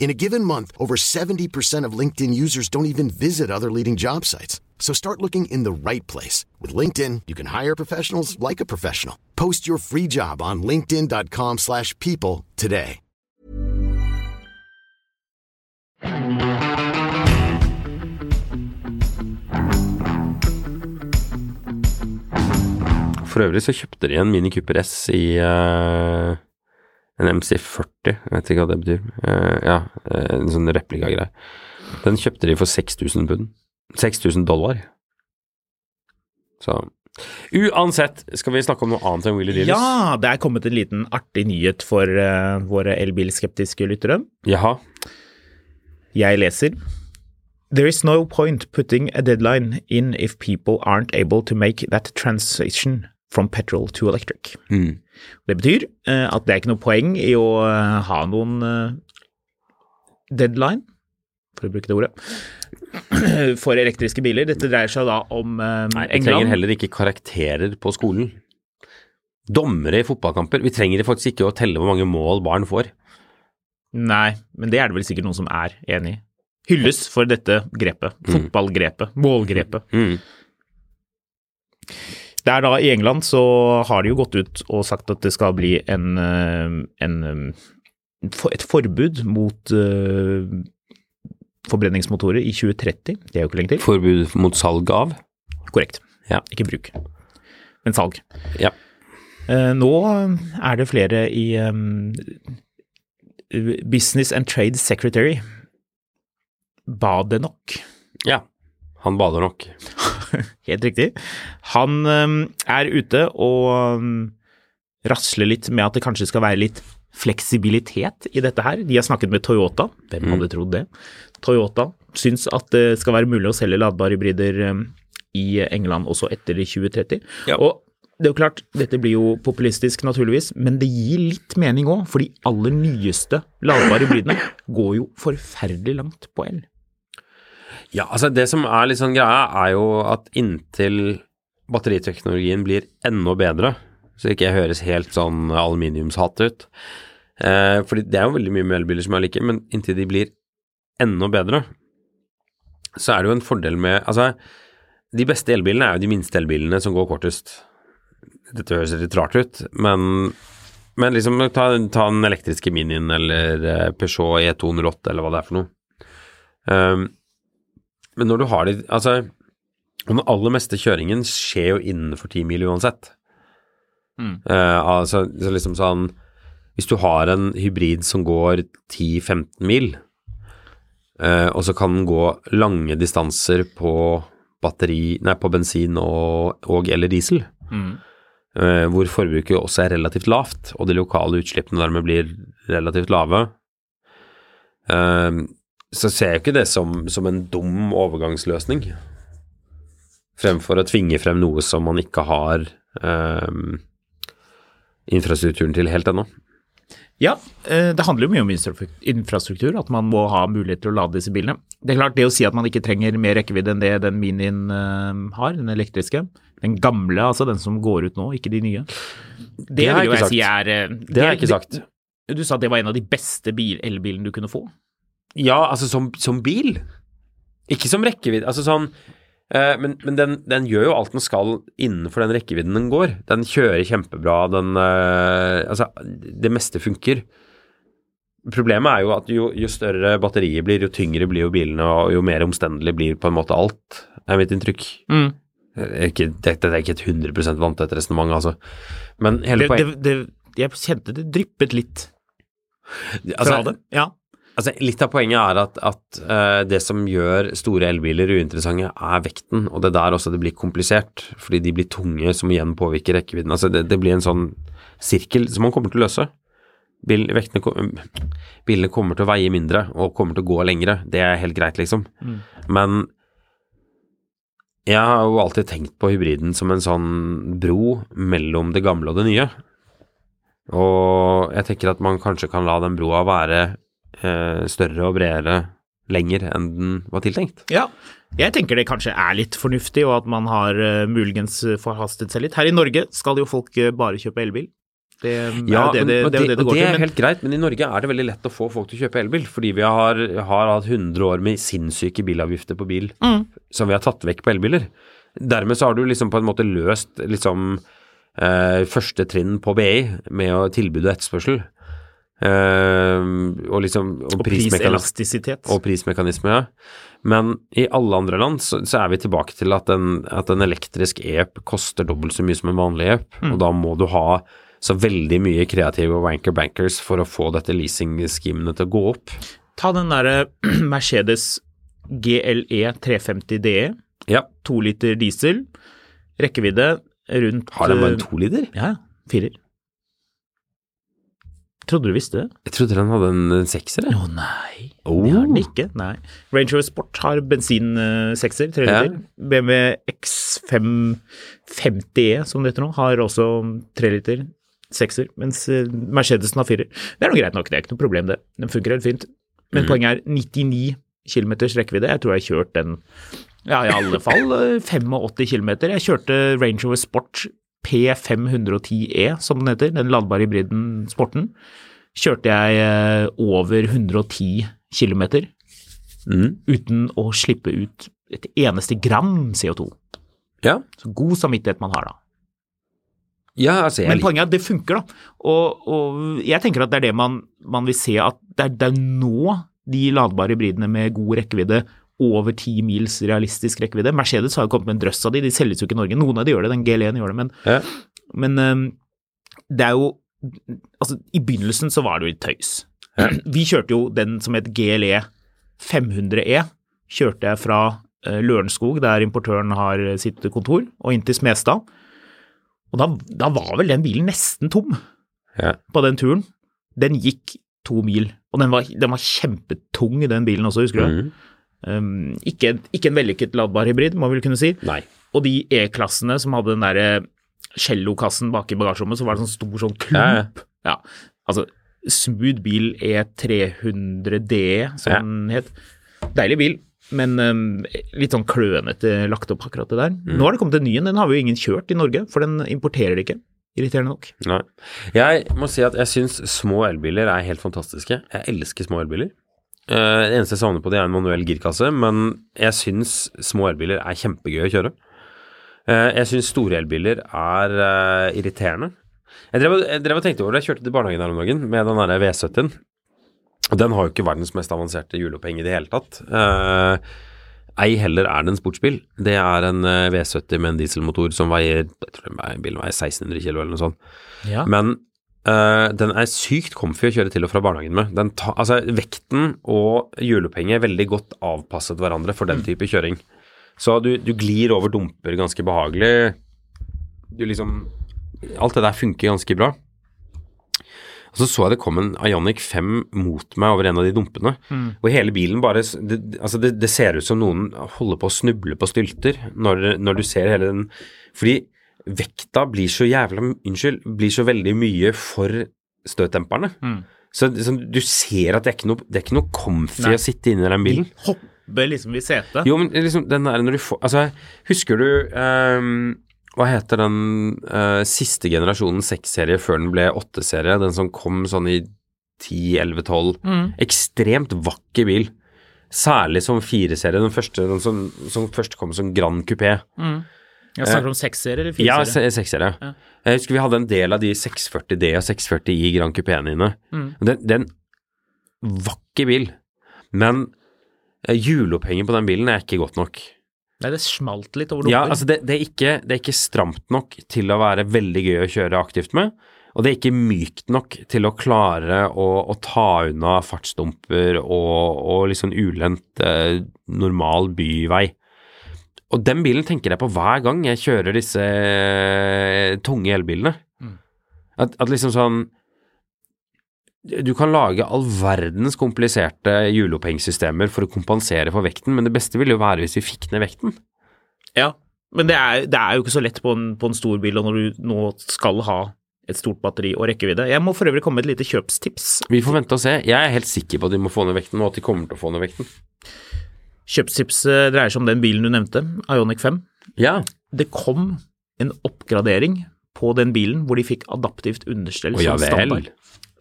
In a given month, over 70% of LinkedIn users don't even visit other leading job sites. So start looking in the right place. With LinkedIn, you can hire professionals like a professional. Post your free job on linkedin.com/people slash people today. For øvrig så kjøpte de en Mini Cooper S i eh, en MC40, jeg vet ikke hva det betyr. Eh, ja, eh, en sånn replikagreie. Den kjøpte de for 6000 pund. 6000 dollar. Så Uansett, skal vi snakke om noe annet enn Willy Dealers? Ja, det er kommet en liten artig nyhet for eh, våre elbilskeptiske lyttere. Jaha. Jeg leser There is no point putting a deadline in if people aren't able to make that transition from petrol to electric. Mm. Det betyr eh, at det er ikke noe poeng i å eh, ha noen eh, deadline, for å bruke det ordet, for elektriske biler. Dette dreier seg da om eh, Nei, vi trenger England. heller ikke karakterer på skolen. Dommere i fotballkamper. Vi trenger faktisk ikke å telle hvor mange mål barn får. Nei, men det er det vel sikkert noen som er enig i. Hylles for dette grepet. Mm. Fotballgrepet. Målgrepet. Det er da I England så har de jo gått ut og sagt at det skal bli en, eh, en eh, for- Et forbud mot eh, forbrenningsmotorer i 2030. Det er jo ikke lenge til. Forbud mot salg av. Korrekt. Ja. Ikke bruk, men salg. Ja. Eh, Nå er det flere i um, Business and Trade Secretary ba det nok. ja. Han bader nok. Helt riktig. Han um, er ute og um, rasler litt med at det kanskje skal være litt fleksibilitet i dette her. De har snakket med Toyota. Hvem hadde trodd det? Toyota syns at det skal være mulig å selge ladbare hybrider um, i England også etter 2030. Ja. Og det er jo klart, dette blir jo populistisk naturligvis, men det gir litt mening òg, for de aller nyeste ladbare hybridene går jo forferdelig langt på el. Ja, altså det som er litt sånn greia, er jo at inntil batteriteknologien blir enda bedre, så ikke jeg høres helt sånn aluminiumshatt ut, eh, fordi det er jo veldig mye med elbiler som jeg liker, men inntil de blir enda bedre, så er det jo en fordel med Altså, de beste elbilene er jo de minste elbilene som går kortest. Dette høres litt rart ut, men men liksom ta, ta den elektriske Minien eller eh, Peugeot E208 eller hva det er for noe. Um, men når du har de Altså, og den aller meste kjøringen skjer jo innenfor 10 mil uansett. Eh, altså, så liksom sånn Hvis du har en hybrid som går 10-15 mil, eh, og så kan den gå lange distanser på batteri Nei, på bensin og, og eller diesel, eh, hvor forbruket jo også er relativt lavt, og de lokale utslippene dermed blir relativt lave, eh, så ser jeg ikke det som, som en dum overgangsløsning. Fremfor å tvinge frem noe som man ikke har ehm, infrastrukturen til helt ennå. Ja, eh, det handler jo mye om instru- infrastruktur, at man må ha mulighet til å lade disse bilene. Det er klart, det å si at man ikke trenger mer rekkevidde enn det den Minien eh, har, den elektriske, den gamle, altså den som går ut nå, ikke de nye. Det, vil har jeg jo ikke jeg sagt. si er eh, Det har jeg ikke sagt. Du sa at det var en av de beste bil, elbilene du kunne få. Ja, altså som, som bil. Ikke som rekkevidde. Altså sånn eh, Men, men den, den gjør jo alt den skal innenfor den rekkevidden den går. Den kjører kjempebra, den eh, Altså, det meste funker. Problemet er jo at jo, jo større batteriet blir, jo tyngre blir jo bilene, og jo mer omstendelig blir på en måte alt, er mitt inntrykk. Mm. Eh, Ikke, dette er ikke et 100 vanntett resonnement, altså. Men hele Det, poenget det, det, jeg kjente det dryppet litt. fra Altså, det. Ja. altså, litt av poenget er at, at eh, det som gjør store elbiler uinteressante, er vekten, og det er der også det blir komplisert, fordi de blir tunge, som igjen påvirker rekkevidden. Altså, det, det blir en sånn sirkel som man kommer til å løse. Bil, vektene, kom- bilene kommer til å veie mindre og kommer til å gå lengre. Det er helt greit, liksom. Men jeg har jo alltid tenkt på hybriden som en sånn bro mellom det gamle og det nye. Og jeg tenker at man kanskje kan la den broa være eh, større og bredere lenger enn den var tiltenkt. Ja. Jeg tenker det kanskje er litt fornuftig, og at man har eh, muligens forhastet seg litt. Her i Norge skal jo folk eh, bare kjøpe elbil. Det eh, er jo det det, og det, er jo det, det og går det til. er Men helt greit, men i Norge er det veldig lett å få folk til å kjøpe elbil, fordi vi har, har hatt 100 år med sinnssyke bilavgifter på bil som vi har tatt vekk på elbiler. Dermed så har du liksom på en måte løst liksom eh, første trinn på BI med å tilbud og etterspørsel. Eh, og liksom og prismekanis- priselastisitet. Og prismekanisme, ja. Men i alle andre land så, så er vi tilbake til at en, at en elektrisk e-up koster dobbelt så mye som en vanlig e-up, Mm. og da må du ha så veldig mye kreative wanker bankers for å få dette leasing-skimene til å gå opp. Ta den derre Mercedes E GLE 350 DE, Ja. E, to liter diesel, rekkevidde rundt Har den eh, bare en toliter? Ja, firer. Trodde du visste det? Jeg trodde den hadde en en sekser. jeg. Å nei, Oh. det har den ikke. Nei. Range Rover Sport har bensinsekser, tre Ja. liter. BMW X550E, E, som det heter nå, har også tre liter sekser, mens eh, Mercedesen har firer. Det er noe greit nok, det er ikke noe problem det. Den funker helt fint. Mm. Men poenget er 99 km rekkevidde. Jeg tror jeg har kjørt den ja, i alle fall eh, 85 km. Jeg kjørte Range Rover Sport P510E, som den heter, den ladbare hybriden Sporten. Kjørte jeg eh, over 110 km uten å slippe ut et eneste gram CO2. Ja. Så god samvittighet man har da. ja, altså jeg Men liker poenget er at det funker, da. Og, og jeg tenker at det er det man, man vil se, at det er, det er nå de ladbare hybridene med god rekkevidde over ti mils realistisk rekkevidde. Mercedes har jo kommet med en drøss av de, de selges jo ikke i Norge. Noen av de gjør det, den GLE-en gjør det, men, Ja. men øhm, det er jo Altså, i begynnelsen så var det jo litt tøys. Vi kjørte jo den som het GLE 500E, E, kjørte jeg fra eh, Lørenskog, der importøren har sitt kontor, og inn til Smestad. Og da, da var vel den bilen nesten tom Ja. på den turen. Den gikk to mil, og den var, den var kjempetung, den bilen også, husker du? Um, ikke, ikke en vellykket ladbar hybrid, må vi vel kunne si. Nei. Og de E-klassene som hadde den derre cellokassen bak i bagasjerommet, så var det sånn stor sånn klump. Ja, ja. Ja, altså smooth bil E300D, som Ja. den het. Deilig bil, men øhm, litt sånn klønete lagt opp akkurat det der. Mm. Nå har det kommet en ny en, den har vi jo ingen kjørt i Norge, for den importerer det ikke. Irriterende nok. Nei. Jeg må si at jeg syns små elbiler er helt fantastiske. Jeg elsker små elbiler. Eh, det eneste jeg savner på det, er en manuell girkasse, men jeg syns små elbiler er kjempegøy å kjøre. Eh, jeg syns store elbiler er eh, irriterende. Jeg drev, og- jeg drev og tenkte over det. Jeg kjørte til barnehagen her om dagen med den derre V70-en. Og den har jo ikke verdens mest avanserte hjuloppheng i det hele tatt. Eh, Ei heller er det en sportsbil. Det er en eh, V70 med en dieselmotor som veier jeg tror den veier- bilen veier 1600 kg eller noe sånt. Ja. Men eh, den er sykt comfy å kjøre til og fra barnehagen med. Den ta, altså, vekten og hjulopphenget er veldig godt avpasset hverandre for den type kjøring. Så du, du glir over dumper ganske behagelig. Du liksom Alt det der funker ganske bra. Og så så jeg det kom en Ionic 5 mot meg over en av de dumpene. Og hele bilen bare s- det, det- altså det, det ser ut som noen holder på å snuble på stylter når, når du ser hele den Fordi vekta blir så jævla Unnskyld, blir så veldig mye for støtdemperne. Så, så du ser at det er ikke noe, det er ikke noe comfy Nei. å sitte inni den bilen. Hopper liksom i setet. Jo, men liksom den der når du får Altså, husker du ehm, Hva heter den eh, siste generasjonen 6-serie før den ble 8-serie? Den som kom sånn i 10-11-12. Ekstremt vakker bil. Særlig som 4-serie, den første den som, som først kom som Grand Coupé. Jeg snakker om seksere eller eh, Ja, firesere. se- seksere. Jeg husker vi hadde en del av de 640D og 640 i Grand Coupéene dine. Den, den vakker bil, men eh, hjulopphenget på den bilen er ikke godt nok. Nei, det smalt litt over Ja, dumper. altså det, det, er ikke, det er ikke stramt nok til å være veldig gøy å kjøre aktivt med, Og det er ikke mykt nok til å klare å, å ta unna fartsdumper og, og liksom ulendt eh, normal byvei. Og den bilen tenker jeg på hver gang jeg kjører disse eh, tunge elbilene. At, at liksom sånn Du kan lage all verdens kompliserte hjulopphengssystemer for å kompensere for vekten, men det beste ville jo være hvis vi fikk ned vekten. Ja, men det er, det er jo ikke så lett på en, på en stor bil og når du nå skal ha et stort batteri og rekkevidde. Jeg må for øvrig komme med et lite kjøpstips. Vi får vente og se. Jeg er helt sikker på at de må få ned vekten, og at de kommer til å få ned vekten. Kjøpstipset eh, dreier seg om den bilen du nevnte, Ionic 5. Ja. Det kom en oppgradering på den bilen hvor de fikk adaptivt understell Å, ja som vel. standard.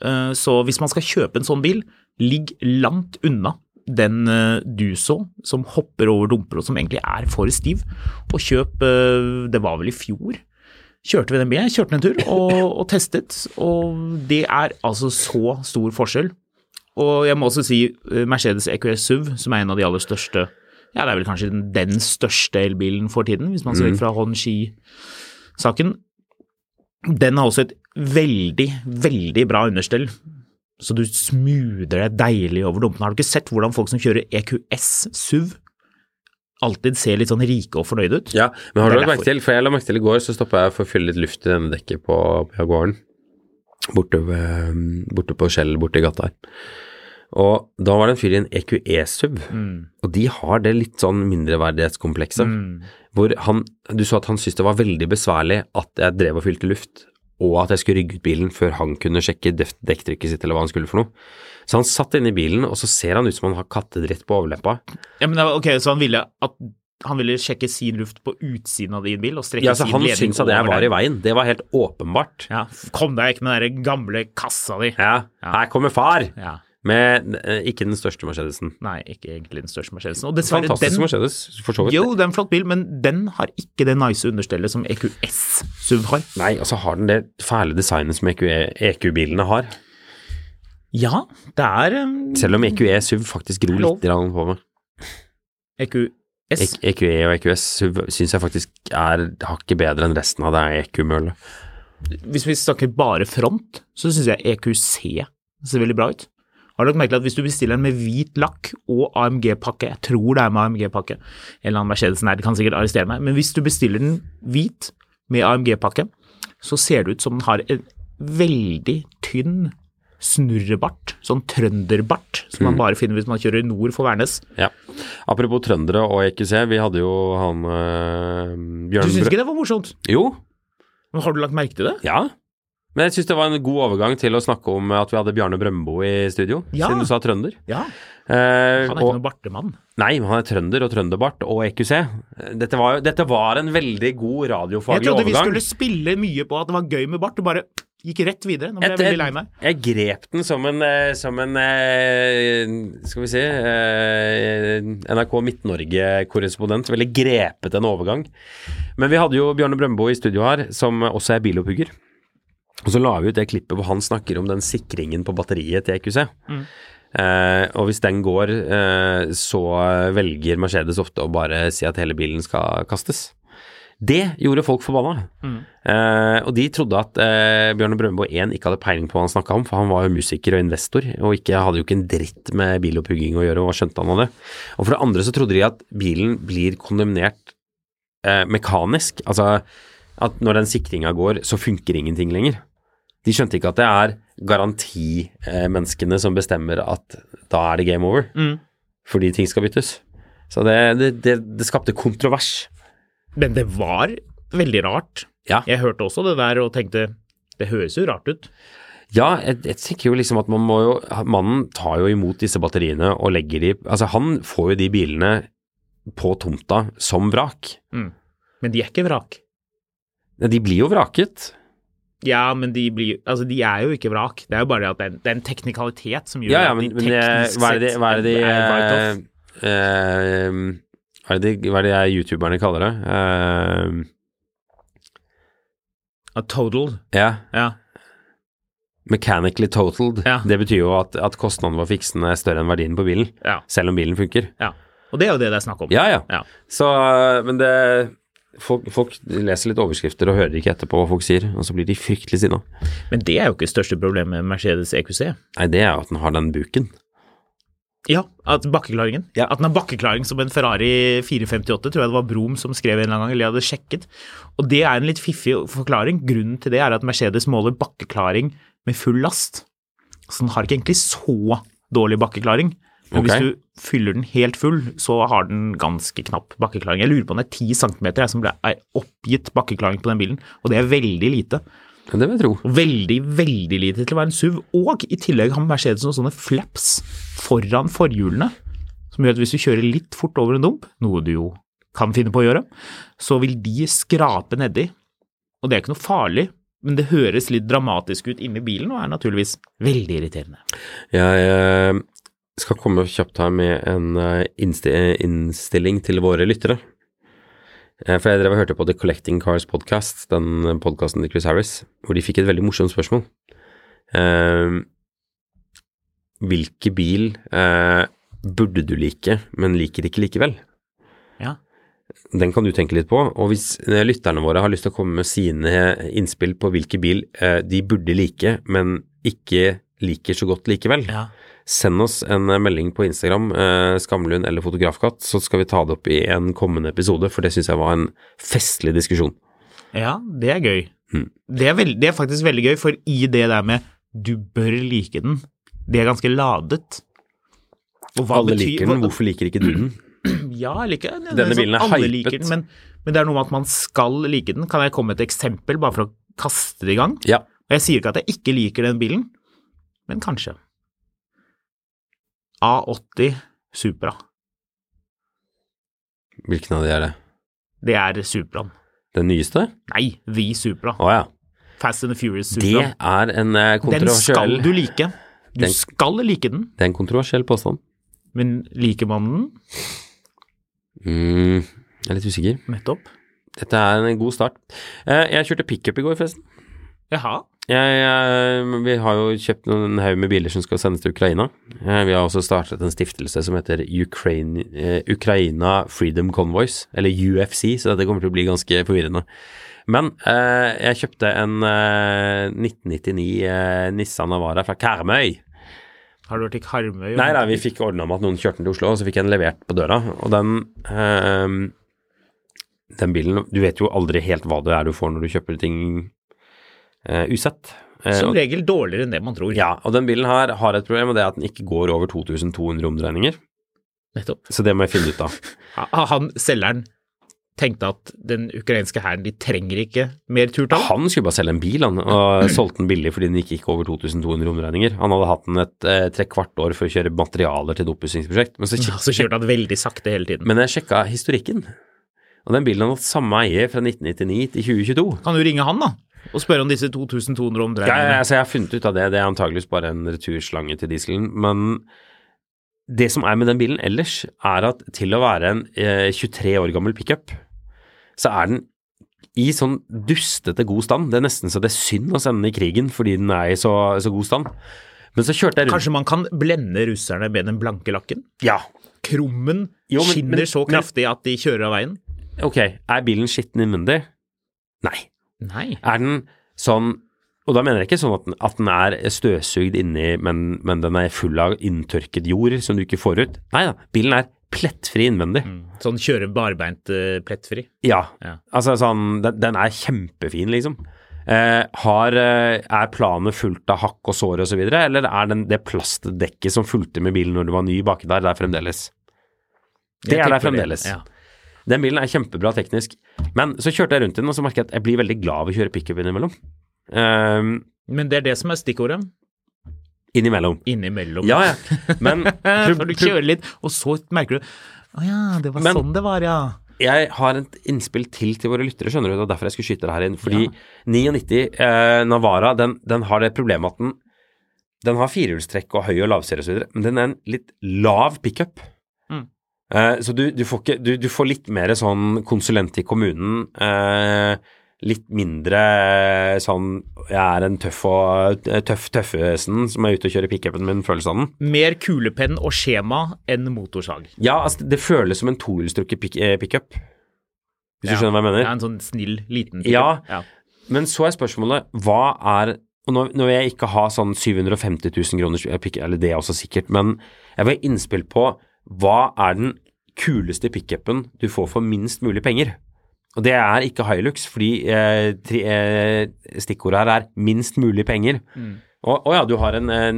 Eh, Så hvis man skal kjøpe en sånn bil, ligg langt unna den eh, du så, som hopper over dumper og som egentlig er for stiv, og kjøp eh, Det var vel i fjor? Kjørte vi den bilen? Jeg kjørte den en tur og, og testet, og det er altså så stor forskjell. Og jeg må også si eh, Mercedes EQS SUV, som er en av de aller største Ja, det er vel kanskje den, den største elbilen for tiden, hvis man ser vekk fra Honshi-saken. Den har også et veldig, veldig bra understell. Så du smoother deg deilig over dumpene. Har du ikke sett hvordan folk som kjører E EQS SUV alltid ser litt sånn rike og fornøyde ut? Ja, men har Det du er lagt merke derfor. til, for jeg la merke til i går, så stoppa jeg for å fylle litt luft i denne dekket på på Jaguaren. Borte, ved, mm, borte på Shell, borte i gata her. Og da var det en fyr i en E EQE-sub, Mm. og de har det litt sånn mindreverdighetskomplekset. Mm. Hvor han, du så at han syntes det var veldig besværlig at jeg drev og fylte luft, og at jeg skulle rygge ut bilen før han kunne sjekke def- dekktrykket sitt eller hva han skulle for noe. Så han satt inne i bilen, og så ser han ut som han har kattedritt på overleppa. Ja, men det var- ok, Så han ville, at, han ville sjekke sin luft på utsiden av din bil og strekke Ja, så sin han ledning syntes at jeg over var i den? veien, det var helt åpenbart. Ja, Kom deg ikke med den der gamle kassa di. Ja, her kommer far! Ja, Med eh, ikke den største Mercedesen. Nei, ikke egentlig den største Mercedesen. Og dessverre, Fantastisk den, Mercedes, for så vidt. jo, det er en flott bil, men den har ikke det nice understellet som EQS SUV har. Nei, og så har den det fæle designet som E EQE EQ-bilene har. Ja, det er um, Selv om EQE SUV faktisk gror Lov. litt grann på meg. EQS. E- EQE og EQS SUV syns jeg faktisk er hakket bedre enn resten av det E EQ-mølet. hvis vi snakker bare front, så syns jeg EQC ser veldig bra ut. Har du lagt merke til at hvis du bestiller en med hvit lakk og AMG-pakke, jeg tror det er med AMG-pakke, en eller annen Mercedesen her, de kan sikkert arrestere meg, men hvis du bestiller den hvit med AMG-pakke, så ser det ut som den har en veldig tynn snurrebart, sånn trønderbart, som man bare finner hvis man kjører nord for Værnes. Ja. Apropos trøndere og EQC, vi hadde jo han øh, Du Bjørn syns Brø... ikke det var morsomt? Jo, Men har du lagt merke til det? ja. Men jeg syns det var en god overgang til å snakke om at vi hadde Bjarne Brøndbo i studio, Ja. siden du sa trønder. Ja. Han er Eh, og- ikke noen bartemann. Nei, men han er trønder og trønderbart og EQC. Dette var, jo- dette var en veldig god Jeg radiofaglig trodde vi overgang. skulle spille mye på at det var gøy med bart, og bare gikk rett videre. Nå ble jeg Etter- veldig lei meg. Jeg grep den som en, eh, som en eh, skal vi si eh, NRK Midt-Norge-korrespondent. Veldig grepet en overgang. Men vi hadde jo Bjarne Brøndbo i studio her, som også er bilopphugger. Og så la vi ut det klippet hvor han snakker om den sikringen på batteriet til EQC. Mm. Eh, og hvis den går, eh, så velger Mercedes ofte å bare si at hele bilen skal kastes. Det gjorde folk forbanna. Eh, og de trodde at eh, Bjørne Brøndbo 1 ikke hadde peiling på hva han snakka om, for han var jo musiker og investor, og ikke, hadde jo ikke en dritt med bilopphugging å gjøre, og hva skjønte han av det? Og for det andre så trodde de at bilen blir kondemnert eh, mekanisk, altså at når den sikringa går, så funker ingenting lenger. De skjønte ikke at det er garantimenneskene som bestemmer at da er det game over, fordi ting skal byttes. Så det, det, det, det skapte kontrovers. Men det var veldig rart. Ja. Jeg hørte også det der og tenkte det høres jo rart ut. Ja, jeg, jeg tenker jo liksom at man må jo Mannen tar jo imot disse batteriene og legger de Altså, han får jo de bilene på tomta som vrak. Men de er ikke vrak. De blir jo vraket. Ja, men de, blir, altså, de er jo ikke vrak. Det er jo bare det at det er en, det er en teknikalitet som gjør Ja, ja, at de men, men eh, hva er det de Hva er det de eh, write-off. eh, hva er det de- hva er det jeg youtuberne kaller det? A total. Eh, ja, Ja. mechanically totaled. Ja. Det betyr jo at, at kostnaden ved å fikse den er større enn verdien på bilen, Ja. selv om bilen funker. ja. Og det er jo det det er snakk om. Ja, ja. Ja. Så, eh, men det folk, folk leser litt overskrifter og hører ikke etterpå hva folk sier, og så blir de fryktelig sinna. Men det er jo ikke det største problemet med Mercedes E EQC. Nei, det er jo at den har den buken. Ja, at bakkeklaringen. Ja. At den har bakkeklaring som en Ferrari 458, tror jeg det var Brom som skrev en eller annen gang, eller jeg hadde sjekket. Og det er en litt fiffig forklaring. Grunnen til det er at Mercedes måler bakkeklaring med full last. Så den har ikke egentlig så dårlig bakkeklaring. Men Ok. hvis du fyller den helt full, så har den ganske knapp bakkeklaring. Jeg lurer på om det er 10 cm jeg, som ble er oppgitt bakkeklaring på den bilen, og det er veldig lite. Ja, Det vil jeg tro. Veldig, veldig lite til å være en SUV. Og i tillegg har Mercedes noen sånne flaps foran forhjulene, som gjør at hvis du kjører litt fort over en dump, noe du jo kan finne på å gjøre, så vil de skrape nedi. Og det er ikke noe farlig, men det høres litt dramatisk ut inni bilen, og er naturligvis veldig irriterende. Jeg eh, skal komme kjapt her med en eh, innsti eh, innstilling til våre lyttere. Eh, For jeg drev og hørte på The Collecting Cars Podcast, den podkasten til Chris Harris, hvor de fikk et veldig morsomt spørsmål. Eh, Hvilken bil eh, burde du like, men liker ikke likevel? Ja. Den kan du tenke litt på. Og hvis eh, lytterne våre har lyst til å komme med sine innspill på hvilken bil eh, de burde like, men ikke liker så godt likevel, Ja. send oss en eh, melding på Instagram, eh, Skamlund eller Fotografkatt, så skal vi ta det opp i en kommende episode, for det syns jeg var en festlig diskusjon. Ja, det er gøy. Hmm. Det, er veld, det er faktisk veldig gøy, for i det der med du bør like den, det er ganske ladet. Og hva Alle betyr- liker hva- den, hvorfor liker ikke du den? Ja, eller ikke det er Denne sånn bilen er alle hypet. liker den, men, men det er noe med at man skal like den. Kan jeg komme med et eksempel, bare for å kaste det i gang? Ja. Og jeg sier ikke at jeg ikke liker den bilen, men kanskje. A80 Supra. Hvilken av de er det? Det er Supraen. Den nyeste? Nei, The Supra. Å ja. Fast and the Furious Ah. Det Supra. er en eh, Den skal kontroversiell du like. Du Den- skal like den, Det er en kontroversiell påstand. men liker man den? Mm, jeg er litt usikker. Nettopp. Dette er en god start. Eh, Jeg kjørte pickup i går, forresten. Jaha. Jeg, jeg, vi har jo kjøpt en haug med biler som skal sendes til Ukraina. Eh, Vi har også startet en stiftelse som heter Ukraine, eh, Ukraina Freedom Convoys, eller UFC, så dette kommer til å bli ganske forvirrende. Men eh, jeg kjøpte en eh, 1999 eh, Nissan Navara fra Karmøy. Har du vært i Karmøy? Nei da, vi fikk ordna med at noen kjørte den til Oslo, og så fikk jeg den levert på døra. Og den, ehm, den bilen Du vet jo aldri helt hva det er du får når du kjøper ting eh, usett. Eh, Som og- regel dårligere enn det man tror. ja, og den bilen her har et problem, og det er at den ikke går over 2200 omdreininger. Nettopp. Så det må jeg finne ut av. Ha- Han selgeren tenkte at den ukrainske hæren de trenger ikke mer turtall. Han skulle bare selge en bil, han, og solgte den billig fordi den ikke gikk over 2200 omdreininger. Han hadde hatt den et eh, trekvart år for å kjøre materialer til et oppussingsprosjekt. Men så Ja, Så kjørte han veldig sakte hele tiden. Men jeg sjekka historikken, og den bilen har hatt samme eier fra 1999 til 2022. Kan du ringe han, da? Og spørre om disse 2200 Ja, ja, omdreiningene. altså jeg har funnet ut av det, det er antageligvis bare en returslange til dieselen, men det som er med den bilen ellers, er at til å være en eh, 23 år gammel pickup, så er den i sånn dustete god stand. Det er nesten så det er synd å sende den i krigen fordi den er i så, så god stand. Men så kjørte jeg rundt Kanskje man kan blende russerne med den blanke lakken? Ja, Krummen Jo, men- skinner men- så men- kraftig at de kjører av veien? ok, er bilen skitten innvendig? Nei. Nei. Er den sånn Og da mener jeg ikke sånn at den, at den er støvsugd inni, men, men den er full av inntørket jord som du ikke får ut. Nei da, bilen er plettfri innvendig. Sånn kjøre barbeint eh, plettfri. Ja. Ja. Altså sånn Den, den er kjempefin, liksom. Eh, har, eh, er planet fullt av hakk og sår og så videre, eller er den, det plastdekket som fulgte med bilen når du var ny baki der, der fremdeles? Jeg Det er der tipper fremdeles. Ja. Den bilen er kjempebra teknisk. Men så kjørte jeg rundt i den, og så merket jeg at jeg blir veldig glad av å kjøre pickup innimellom. Eh, Men det er det som er stikkordet. innimellom. Innimellom. Ja, ja. Men, Når du kjører litt, og så merker du Å ja, det var Men- sånn det var, ja. jeg har et innspill til til våre lyttere, skjønner du. Det er derfor jeg skulle skyte det her inn. Fordi 99 eh, Navara, den, den har det problemet at den, den har firehjulstrekk og høy og lavserie og så videre, men den er en litt lav pickup. Mm. Eh, så du, du, får ikke, du, du får litt mer sånn konsulent i kommunen. Eh, litt mindre eh, sånn jeg er en tøff og eh, tøff tøffesen som er ute og kjører pickupen min, følelsen av den. Mer kulepenn og skjema enn motorsag. Ja, altså det føles som en tohjulstrukket pick- eh, pickup. Hvis du skjønner hva jeg mener? Ja, en sånn snill, liten pickup. Ja. Men så er spørsmålet, hva er Og nå, nå vil jeg ikke ha sånn 750 000 kroners pick, eller det er også sikkert, men jeg vil ha innspill på hva er den kuleste pickupen du får for minst mulig penger? Og det er ikke Hilux, fordi eh, tri, eh, stikkordet her er minst mulig penger. Og, å ja, du har en eh,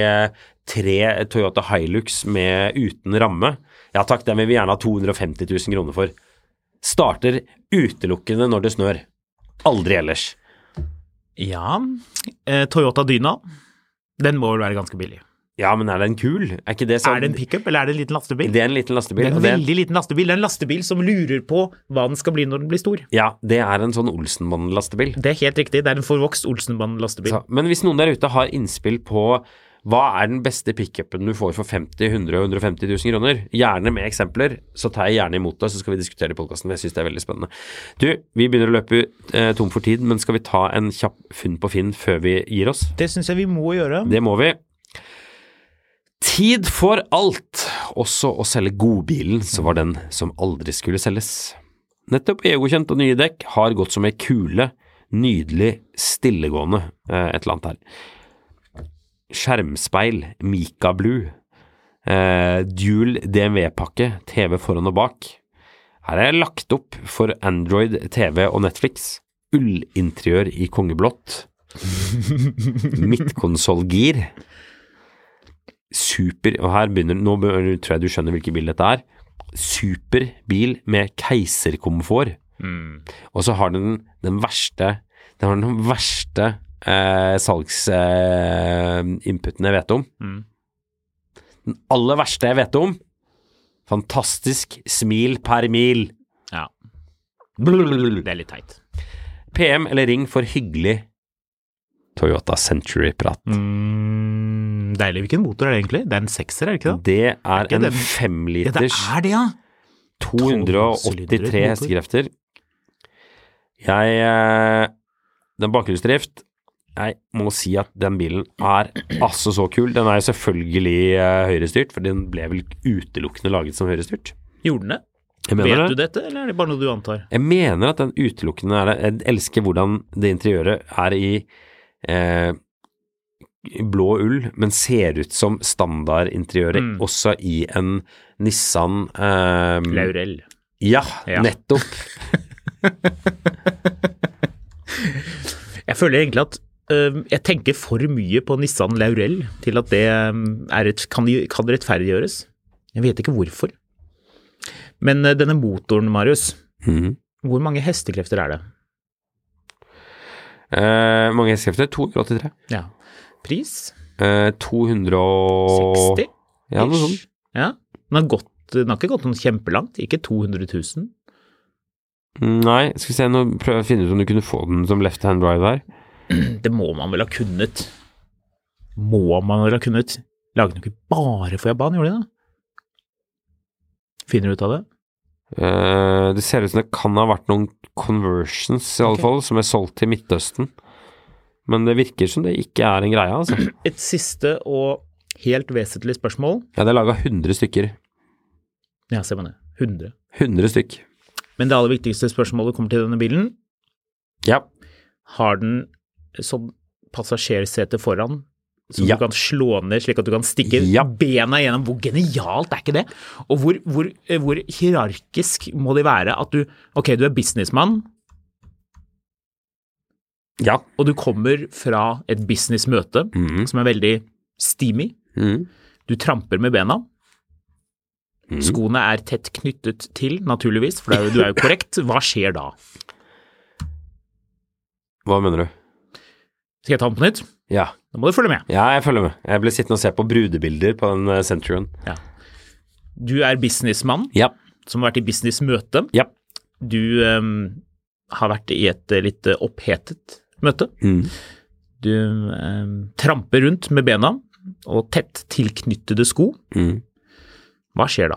1993 Toyota Hilux med uten ramme. Ja takk, den vil vi gjerne ha 250 000 kroner for starter utelukkende når det snør. Aldri ellers. Ja. Eh, Toyota Dyna. Den må vel være ganske billig. Ja, men er den kul? Er ikke det sånn Er det en pickup, eller er det en liten lastebil? Det er en liten lastebil. Det er en og det- veldig liten lastebil. Det er en lastebil som lurer på hva den skal bli når den blir stor. Ja, det er en sånn Olsenbanden-lastebil. Det er helt riktig. Det er en forvokst Olsenbanen-lastebil. Så- Men hvis noen der ute har innspill på hva er den beste pickupen du får for 50 100 og 150 000 kroner? Gjerne med eksempler, så tar jeg gjerne imot det, så skal vi diskutere det i podkasten. Jeg syns det er veldig spennende. Du, vi begynner å løpe eh, tom for tid, men skal vi ta en kjapp funn på Finn før vi gir oss? Det syns jeg vi må gjøre. Det må vi. Tid for alt, også å selge godbilen, så var den som aldri skulle selges. Nettopp EU-godkjent og nye dekk har gått som ei kule, nydelig, stillegående, eh, et eller annet her. Skjermspeil, Mika Blue, eh, dual DMV-pakke, TV foran og bak. Her er jeg lagt opp for Android, TV og Netflix. Ullinteriør i kongeblått. Midtkonsollgir. Super Og her begynner Nå bør- tror jeg du skjønner hvilket bil dette er. Super bil med keiserkomfort. Og så har den den verste Den har den verste eh, salgsinputen eh, inputen jeg vet om. Den aller verste jeg vet om. Fantastisk smil per mil. Ja. Det er litt teit. PM eller ring for hyggelig Toyota Century-prat. Mm, deilig. Hvilken motor er det egentlig? Det er en sekser, er det ikke det? Det er ikke en det- Ja, det femliters er det, ja! 283 12-sylindret motor. hestekrefter. Jeg eh, Den bakhjulsdrift Jeg må si at den bilen er altså så kul. Den er jo selvfølgelig eh, høyrestyrt, for den ble vel utelukkende laget som høyrestyrt. Gjorde den det? Jeg Vet mener du det. dette, eller er det bare noe du antar? Jeg mener at den utelukkende er det. Jeg elsker hvordan det interiøret er i eh, i blå ull, men ser ut som standardinteriøret også i en Nissan eh, Laurel. Ja, Ja. nettopp. Jeg føler egentlig at øhm, jeg tenker for mye på Nissan Laurel til at det øhm, er et, kan, kan rettferdiggjøres. Jeg vet ikke hvorfor. Men øh, denne motoren, Marius, Mhm. hvor mange hestekrefter er det? Eh, mange hestekrefter? 283. Ja. Pris? Eh, 200 og 60? Ja, noe sånt. Ish. Ja. Den har, gått, den har ikke gått noe kjempelangt, ikke 200 000. Mm, Nei, skal vi se, nå prøver jeg å finne ut om du kunne få den som left hand drive her. Det må man vel ha kunnet. Må man vel ha kunnet. Lagde den ikke bare for Japan, gjorde de det? Finner du ut av det? Eh, det ser ut som det kan ha vært noen conversions, i alle Ok. fall, som er solgt til Midtøsten. Men det virker som det ikke er en greie, altså. Et siste og helt vesentlig spørsmål. Ja, det er laga 100 stykker. Ja, ser man det. 100. 100 stykk. Men det aller viktigste spørsmålet kommer til denne bilen. Ja. Har den sånn passasjersete foran? Som Ja. du kan slå ned, slik at du kan stikke Ja. bena gjennom. Hvor genialt er ikke det? Og hvor, hvor, eh, hvor hierarkisk må de være at du Ok, du er businessmann, Ja. og du kommer fra et businessmøte som er veldig steamy. Mhm. Du tramper med bena. Skoene er tett knyttet til, naturligvis, for det er jo- du er jo korrekt. Hva skjer da? Hva mener du? Skal jeg ta den på nytt? Ja. Nå må du følge med. ja, jeg følger med. Jeg ble sittende og se på brudebilder på den eh, Centurion. Du er businessmann Ja. som har vært i businessmøte. Ja. Du ehm, har vært i et eh, litt eh, opphetet møte. Mhm. Du ehm, tramper rundt med bena og tett tilknyttede sko. Mhm. Hva skjer da?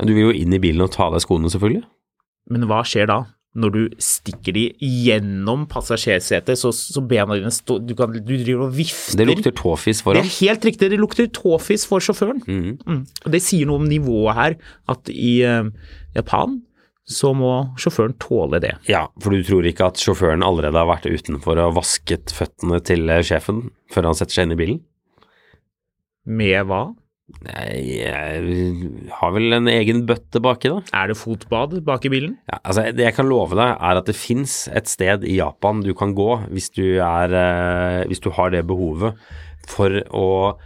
Ja, Du vil jo inn i bilen og ta av deg skoene, selvfølgelig. Men hva skjer da? Når du stikker de gjennom passasjersetet, så, så bena dine står du, kan- du driver og vifter. Det lukter tåfis Det foran. Mhm. er helt riktig, det lukter tåfis for sjåføren. Mm. Og det sier noe om nivået her, at i eh, Japan så må sjåføren tåle det. Ja, for du tror ikke at sjåføren allerede har vært utenfor og vasket føttene til eh, sjefen før han setter seg inn i bilen? Med hva? eh, Nei, jeg har vel en egen bøtte baki, da. Er det fotbad bak i bilen? Ja, altså, det jeg kan love deg, er at det fins et sted i Japan du kan gå hvis du, er, eh, hvis du har det behovet for å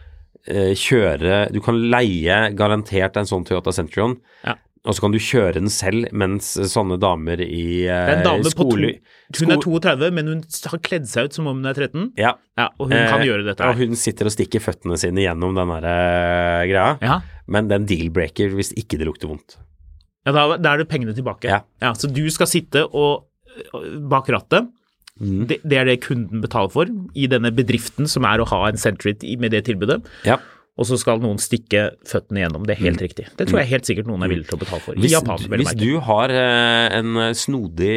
eh, kjøre Du kan leie garantert en sånn Toyota Centrion, Ja. og så kan du kjøre den selv mens sånne damer Det i eh, er en dame på to, skole... Hun er sko- 32, men hun har kledd seg ut som om hun er 13. Ja. Ja, og hun kan Eh, gjøre dette. her. Og hun sitter og stikker føttene sine gjennom den der eh, greia, Ja. men det er en deal-breaker hvis ikke det lukter vondt. Ja, da, da er det pengene tilbake. Ja. så du skal sitte og, og- bak rattet. Mm. Det, det er det kunden betaler for i denne bedriften som er å ha en Century i- med det tilbudet. Ja. Mm. Og så skal noen stikke føttene gjennom. Det er helt riktig. Det tror jeg helt sikkert noen er villig til å betale for. I Hvis, Japan, vel å hvis merke. du har eh, en snodig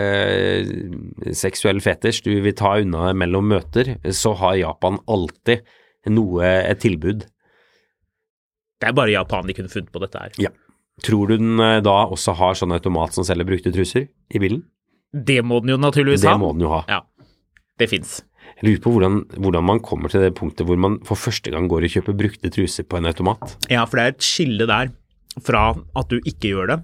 eh, seksuell fetisj du vil ta unna mellom møter, så har Japan alltid noe, et tilbud. Det er bare Japan de kunne funnet på dette her. Ja. Tror du den eh, da også har sånn automat som selger brukte truser i bilen? Det må den jo naturligvis Det ha. må den jo ha. Ja, det fins. Jeg lurer på hvordan, hvordan man kommer til det punktet hvor man for første gang går og kjøper brukte truser på en automat. Ja, for det er et skille der fra at du ikke gjør det.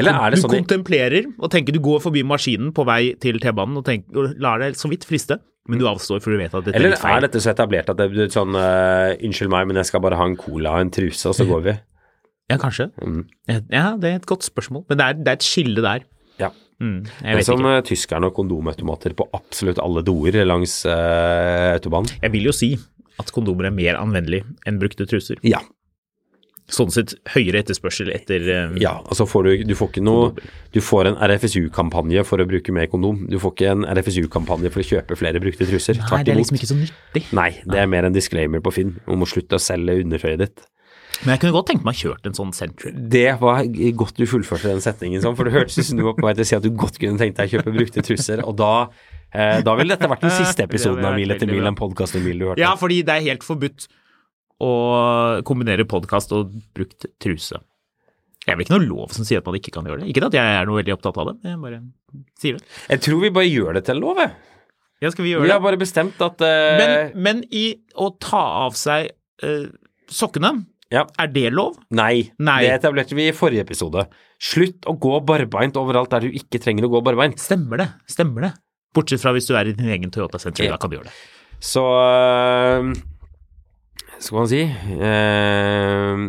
Eller er det du sånn i- kontemplerer og tenker du går forbi maskinen på vei til T-banen og, tenker- og lar deg så vidt friste, men du avstår for du vet at dette eller er litt feil. er dette så etablert at det er sånn eh, Unnskyld meg, men jeg skal bare ha en cola og en truse, og så går vi. Ja, kanskje. Mm. Ja, det er et godt spørsmål, men det er, det er et skille der. Ja. Mm, Det jeg er vet som ikke. eh, tyskerne og kondomautomater på absolutt alle doer langs eh, autobanen. Jeg vil jo si at kondomer er mer anvendelig enn brukte truser. Ja. Sånn sett høyere etterspørsel etter eh, ja. Og så Mm. Altså, får du, du får ikke noe Du får en RFSU-kampanje for å bruke mer kondom. Du får ikke en RFSU-kampanje for å kjøpe flere brukte truser. Nei, Tvert det er imot. liksom ikke så nyttig. Nei, det er mer en disclaimer på Finn om å slutte å selge undertøyet ditt. Men jeg kunne godt tenkt meg å kjørt en sånn Central. Det var g- godt du fullførte den setningen sånn, for det hørtes ut som du var på vei til å si at du godt kunne tenkt deg å kjøpe brukte truser, og da, eh, da ville dette vært den siste episoden av Mil etter mil, en podkast om mil du hørte. Ja, fordi det er helt forbudt å kombinere podkast og brukt truse. Jeg vil ikke noe lov som sier at man ikke kan gjøre det. Ikke at jeg er noe veldig opptatt av det, men jeg bare sier det. Jeg tror vi bare gjør det til en lov, jeg. Ja, skal vi Vi gjøre har det? bare bestemt at eh, Men, men i å ta av seg eh, sokkene, Ja. er det lov? Nei, Nei. det etablerte vi i forrige episode. Slutt å gå barbeint overalt der du ikke trenger å gå barbeint. Stemmer det, stemmer det. Bortsett fra hvis du er i din egen Toyota Century, Ja. da kan du gjøre det. Så øh, Skal man si øh,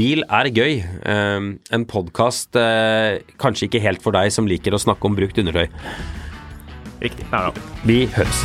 Bil er gøy. Øh, en podkast øh, kanskje ikke helt for deg som liker å snakke om brukt undertøy. Riktig. Ja, ja. Vi høres.